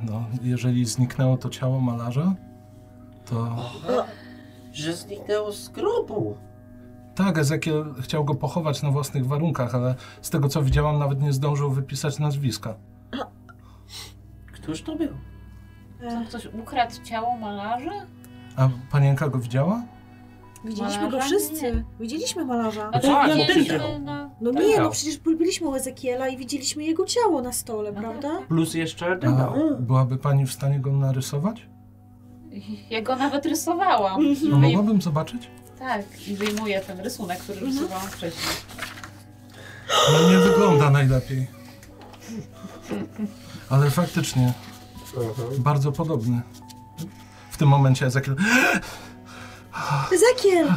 S1: No, jeżeli zniknęło to ciało malarza, to
S2: Aha, że zniknęło z grobu.
S1: tak, Ezekiel chciał go pochować na własnych warunkach, ale z tego co widziałam, nawet nie zdążył wypisać nazwiska.
S2: Któż to był?
S4: Co,
S3: e,
S4: ktoś ukradł ciało malarza?
S1: A panienka go widziała?
S3: widzieliśmy go
S4: Malarza?
S3: wszyscy.
S4: Nie.
S3: Widzieliśmy malarza.
S4: No
S5: tak,
S4: to
S5: no
S4: widzieliśmy
S2: widział.
S4: na...
S3: No
S5: Tak.
S3: nie, no przecież by- byliśmy u Ezekiela i widzieliśmy jego ciało na stole,
S4: No
S3: prawda?
S4: tak,
S5: Plus jeszcze
S1: A
S5: dyndał.
S1: byłaby pani w stanie go narysować?
S4: Ja go nawet rysowałam.
S3: Mhm.
S1: No,
S4: Wyjm-
S1: mogłabym zobaczyć?
S4: Tak, i wyjmuję ten rysunek, który rysowałam wcześniej.
S1: No nie wygląda najlepiej. Ale faktycznie, bardzo podobny. W tym momencie Ezekiel...
S4: tak.
S3: Ezekiel!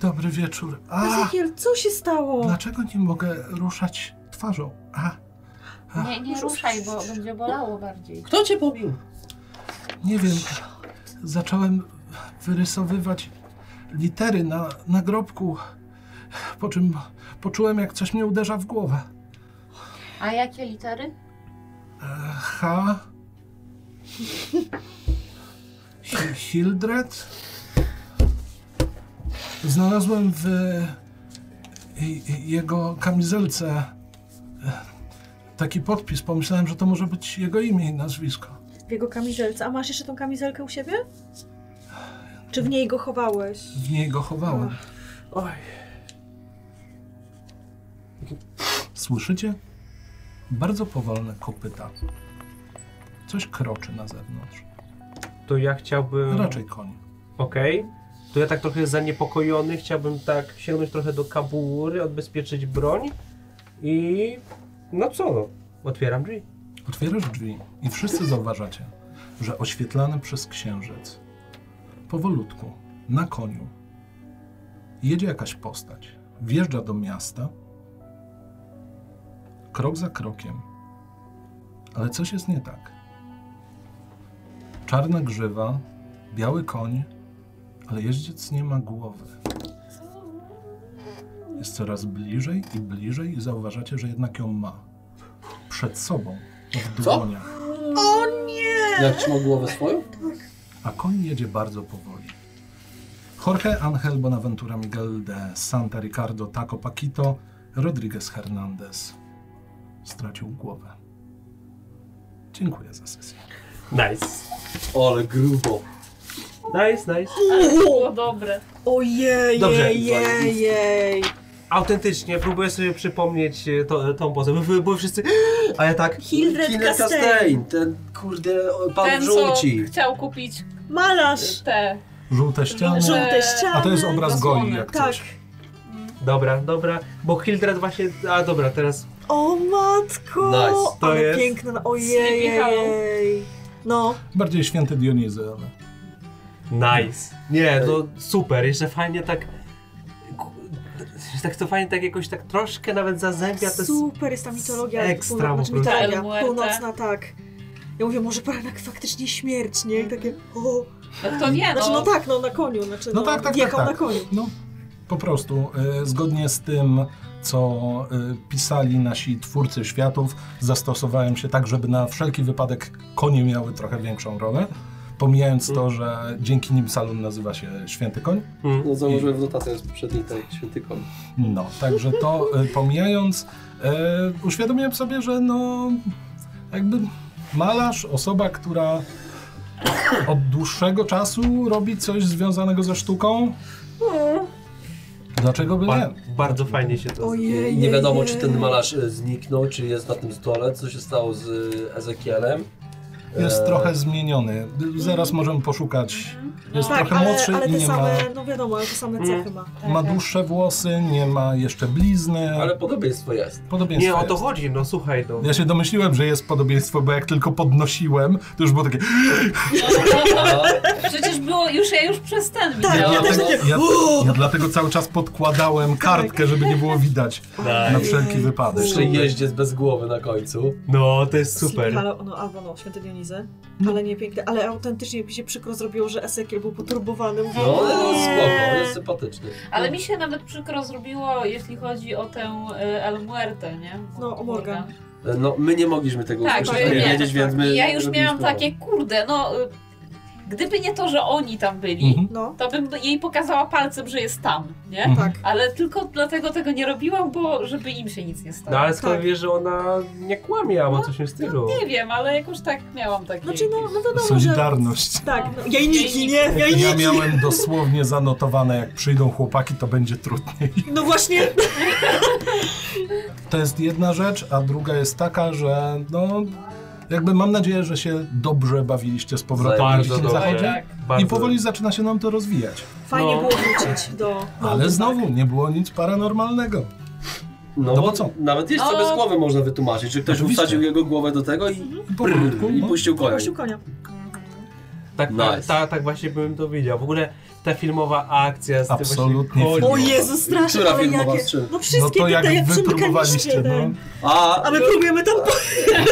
S1: Dobry wieczór. A,
S3: Ezekiel, co się stało?
S1: dlaczego nie mogę ruszać twarzą? A,
S4: Nie, nie ruszaj, bo będzie bolało bardziej.
S2: Kto cię pobił?
S1: Nie wiem. Zacząłem wyrysowywać litery na nagrobku, po czym poczułem, jak coś mnie uderza w głowę.
S4: A jakie litery?
S1: E, H. Hi- Hildred. Znalazłem w i- i- jego kamizelce e, taki podpis. Pomyślałem, że to może być jego imię i nazwisko.
S3: W jego kamizelce. A masz jeszcze tą kamizelkę u siebie? Czy w niej go chowałeś?
S1: W niej go chowałem.
S5: Oj.
S1: Słyszycie? Bardzo powolne kopyta. Coś kroczy na zewnątrz.
S5: To ja chciałbym...
S1: Raczej koń.
S5: Okej. To ja tak trochę zaniepokojony, chciałbym tak sięgnąć trochę do kabury, odbezpieczyć broń i... No co no, otwieram drzwi.
S1: Otwierasz drzwi i wszyscy zauważacie, że oświetlany przez księżyc, powolutku, na koniu, jedzie jakaś postać. Wjeżdża do miasta, krok za krokiem. Ale coś jest nie tak. Czarna grzywa, biały koń, ale jeździec nie ma głowy. Jest coraz bliżej i bliżej i zauważacie, że jednak ją ma. Przed sobą, w
S2: Co?
S1: dłoniach.
S2: Jak trzymał głowę swoją?
S1: a koń jedzie bardzo powoli. Jorge Angel Bonaventura Miguel de Santa Ricardo Taco Paquito Rodriguez Hernandez stracił głowę. Dziękuję za sesję.
S5: Nice.
S2: Ale grubo.
S5: Nice, nice.
S4: Ale to było dobre.
S3: Ojej,
S5: Dobrze.
S3: jej, jej.
S5: Autentycznie, próbuję sobie przypomnieć e, to, tą pozę. By- Były, były wszyscy... A ja tak...
S3: Hildred
S2: Killer
S3: Castell.
S2: Castain, ten kurde o, pan
S4: Ten, co
S2: żółci.
S4: chciał kupić
S3: Malarz.
S4: te...
S1: Żółte ściany,
S4: Żół-
S3: Żółte ściany.
S1: a to jest obraz
S4: zasłony.
S1: goi jak
S3: Tak.
S1: coś.
S5: Dobra, dobra, bo Hildred właśnie... A dobra, teraz...
S3: O matko.
S2: Nice.
S5: To
S3: Ale
S5: jest-
S3: piękna. Ojej,
S4: Sleepy Hollow.
S3: jej. No.
S1: Bardziej święty Dionizy, ale
S5: Nice. Nie, to super, jeszcze fajnie tak... ku- Tak to fajnie tak jakoś tak troszkę nawet zazębia te... s-
S3: Super jest ta mitologia.
S5: ekstra
S3: półno-
S5: po
S3: znaczy
S5: prostu.
S4: El
S3: mitologia
S4: Muerte.
S3: północna, tak. Ja mówię, może Paranak faktycznie śmierć, nie? I takie, o.
S4: No kto wie, no.
S3: Znaczy, no tak, no na koniu. Znaczy,
S1: No tak, tak, tak,
S3: Jechał
S1: tak.
S3: na koniu.
S1: no po prostu e, zgodnie z tym co y, pisali nasi twórcy światów, zastosowałem się tak, żeby na wszelki wypadek konie miały trochę większą rolę. Pomijając to, że dzięki nim salon nazywa się Święty Koń.
S5: Mm.
S2: No założyłem w notatce z poprzedniej tej święty koń.
S1: No, także to y, pomijając, e, uświadomiłem sobie, że no jakby malarz, osoba, która od dłuższego czasu robi coś związanego ze sztuką, dlaczego by nie?
S5: Ba- bardzo fajnie się to
S3: Ojej.
S2: Nie wiadomo, czy ten malarz e, zniknął, czy jest na tym stole, co się stało z e, Ezekielem.
S1: Jest
S2: E,
S1: trochę zmieniony. Zaraz możemy poszukać. Jest
S3: Tak,
S1: trochę
S3: ale,
S1: młodszy
S3: ale
S1: i
S3: te
S1: nie ma,
S3: same, tak, no wiadomo, ale te same
S5: Mm.
S3: cechy ma.
S1: ma dłuższe włosy, nie ma jeszcze blizny.
S2: Ale podobieństwo jest.
S1: Podobieństwo
S5: Nie o to
S1: jest.
S5: chodzi, no słuchaj, no.
S1: Ja się domyśliłem, że jest podobieństwo, bo jak tylko podnosiłem, to już było takie...
S2: A,
S4: Przecież było już, ja już przez ten
S3: Tak,
S1: Ja,
S4: widziałam.
S2: ja też
S1: dlatego,
S2: takie,
S1: ja, ja dlatego cały czas podkładałem kartkę, żeby nie było widać
S2: Tak.
S1: na wszelki wypadek.
S2: Przy jeździe bez głowy na końcu.
S5: No, to jest super.
S3: Halo, no albo no, święty Dionizy. Ale nie piękne, ale autentycznie mi się przykro zrobiło, że Esekiel był poturbowany. Mówię,
S2: No, ale
S3: "Nie".
S2: spoko, jest sympatyczny.
S4: Ale mi się nawet przykro zrobiło, jeśli chodzi o tę y, El Muerte, nie? Bo
S3: No, o Morgan.
S4: kurde.
S2: E, No, my nie mogliśmy tego
S4: Tak,
S2: usłyszeć,
S4: że
S2: nie
S4: nie.
S2: wiedzieć, więc my...
S4: I ja już miałam
S2: robiliśmy-
S4: takie, kurde, no... y, Gdyby nie to, że oni tam byli,
S1: Mhm.
S3: No,
S4: to bym jej pokazała palcem, że jest tam, nie?
S1: Mhm.
S3: tak.
S4: Ale tylko dlatego tego nie robiłam, bo żeby im się nic nie stało. No,
S5: No ale skąd
S3: Tak. No,
S5: wiesz, że ona nie kłamie, a ma coś w tym stylu?
S4: Nie wiem, ale jakoś tak miałam takie...
S3: Znaczy, no, no wiadomo,
S1: Solidarność.
S3: że... Tak, no, jajniki, nie?
S1: Ja
S3: Jajniki!
S1: miałem dosłownie zanotowane, jak przyjdą chłopaki, to będzie trudniej.
S3: No właśnie,
S1: To jest jedna rzecz, a druga jest taka, że no... Jakby mam nadzieję, że się dobrze bawiliście z powrotem na
S2: Bardzo
S3: no,
S1: Dzikim
S5: dobrze.
S1: Zachodzie.
S4: Tak.
S1: I
S5: Bardzo.
S1: powoli zaczyna się nam to rozwijać.
S3: fajnie
S5: No.
S3: było wrócić do... do
S1: Ale
S3: do-
S2: tak.
S1: znowu nie było nic paranormalnego.
S2: No,
S1: No bo
S2: bo
S1: co?
S2: Nawet jeszcze
S4: No.
S2: bez głowy można wytłumaczyć, że ktoś
S1: Oczywiście.
S2: wsadził jego głowę do tego i,
S1: I po krótku,
S2: i
S1: no.
S2: puścił konia.
S3: Puścił konia.
S5: Tak,
S2: Nice.
S5: ta, tak właśnie bym to widział. W ogóle ta filmowa akcja z
S1: Absolutnie
S5: tym
S1: filmowa. Tak,
S3: O
S5: właśnie...
S3: Jezu, strasznie,
S2: Która
S3: ale
S2: filmowa
S3: jakie...
S2: z czym?
S3: No
S1: No
S3: wszystkie
S1: to
S3: no
S1: jak
S3: tutaj, jak
S1: wy próbowaliście,
S3: przymykaliście,
S1: no.
S3: tak.
S2: A,
S3: A my próbujemy tam...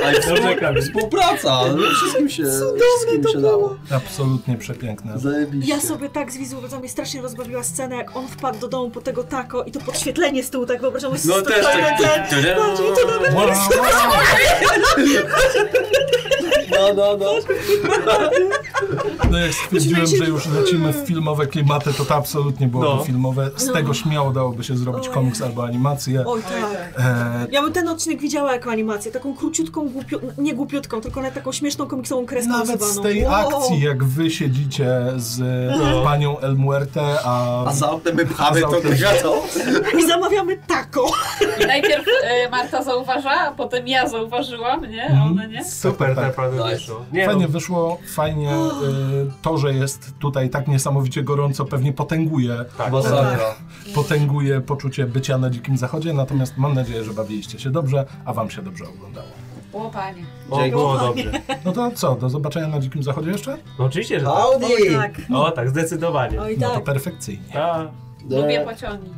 S2: a i
S5: No, czekam.
S2: współpraca! No, wszystkim się, wszystkim
S3: to
S2: się
S3: było.
S2: dało.
S1: Absolutnie przepiękne.
S2: Zajebiście.
S3: Ja sobie tak z wizualnie strasznie rozbawiła scenę, jak on wpadł do domu po tego tako i to podświetlenie z tyłu, tak wyobrażam sobie.
S2: No też tak.
S3: Patrz, i to nawet...
S1: Wow, wow.
S2: No, no, no.
S1: No jak stwierdziłem,
S3: Musimy się-
S1: że już lecimy w filmowe klimaty, to to absolutnie byłoby
S5: No.
S1: filmowe. Z tego śmiało dałoby się zrobić
S3: Oj.
S1: komiks albo animację.
S3: Oj tak.
S1: E,
S3: Ja bym ten odcinek widziała jako animację, taką króciutką, głupio... nie głupiutką, tylko na taką śmieszną komiksową kreską
S1: nawet z
S3: rysowaną.
S1: tej
S3: Wow. No.
S1: akcji, jak wy siedzicie z e, panią El Muerte, a...
S2: A za oknem my pchamy
S1: A za
S2: to
S1: oknem.
S2: gwiazdą.
S3: I zamawiamy tako.
S4: I najpierw y, Marta zauważa, a potem ja zauważyłam, nie? A
S1: Mhm.
S4: ona nie?
S5: Super
S1: Tak, tak.
S5: naprawdę
S2: Nice.
S5: wyszło. Nie,
S1: Fajnie
S5: no,
S1: wyszło, fajnie e, to, że jest tutaj tak niesamowicie gorąco, pewnie potęguje,
S5: tak.
S2: Masakra.
S1: potęguje poczucie bycia na Dzikim Zachodzie, natomiast mam nadzieję, że bawiliście się dobrze, a wam się dobrze oglądało.
S4: O, panie.
S5: O, było dobrze.
S1: No to co, do zobaczenia na Dzikim Zachodzie jeszcze?
S5: No oczywiście, że tak.
S3: Oj
S2: Audi!
S3: tak.
S5: O tak, zdecydowanie.
S3: Oj
S1: No to
S3: tak.
S1: perfekcyjnie.
S5: Tak.
S4: Lubię pociągi.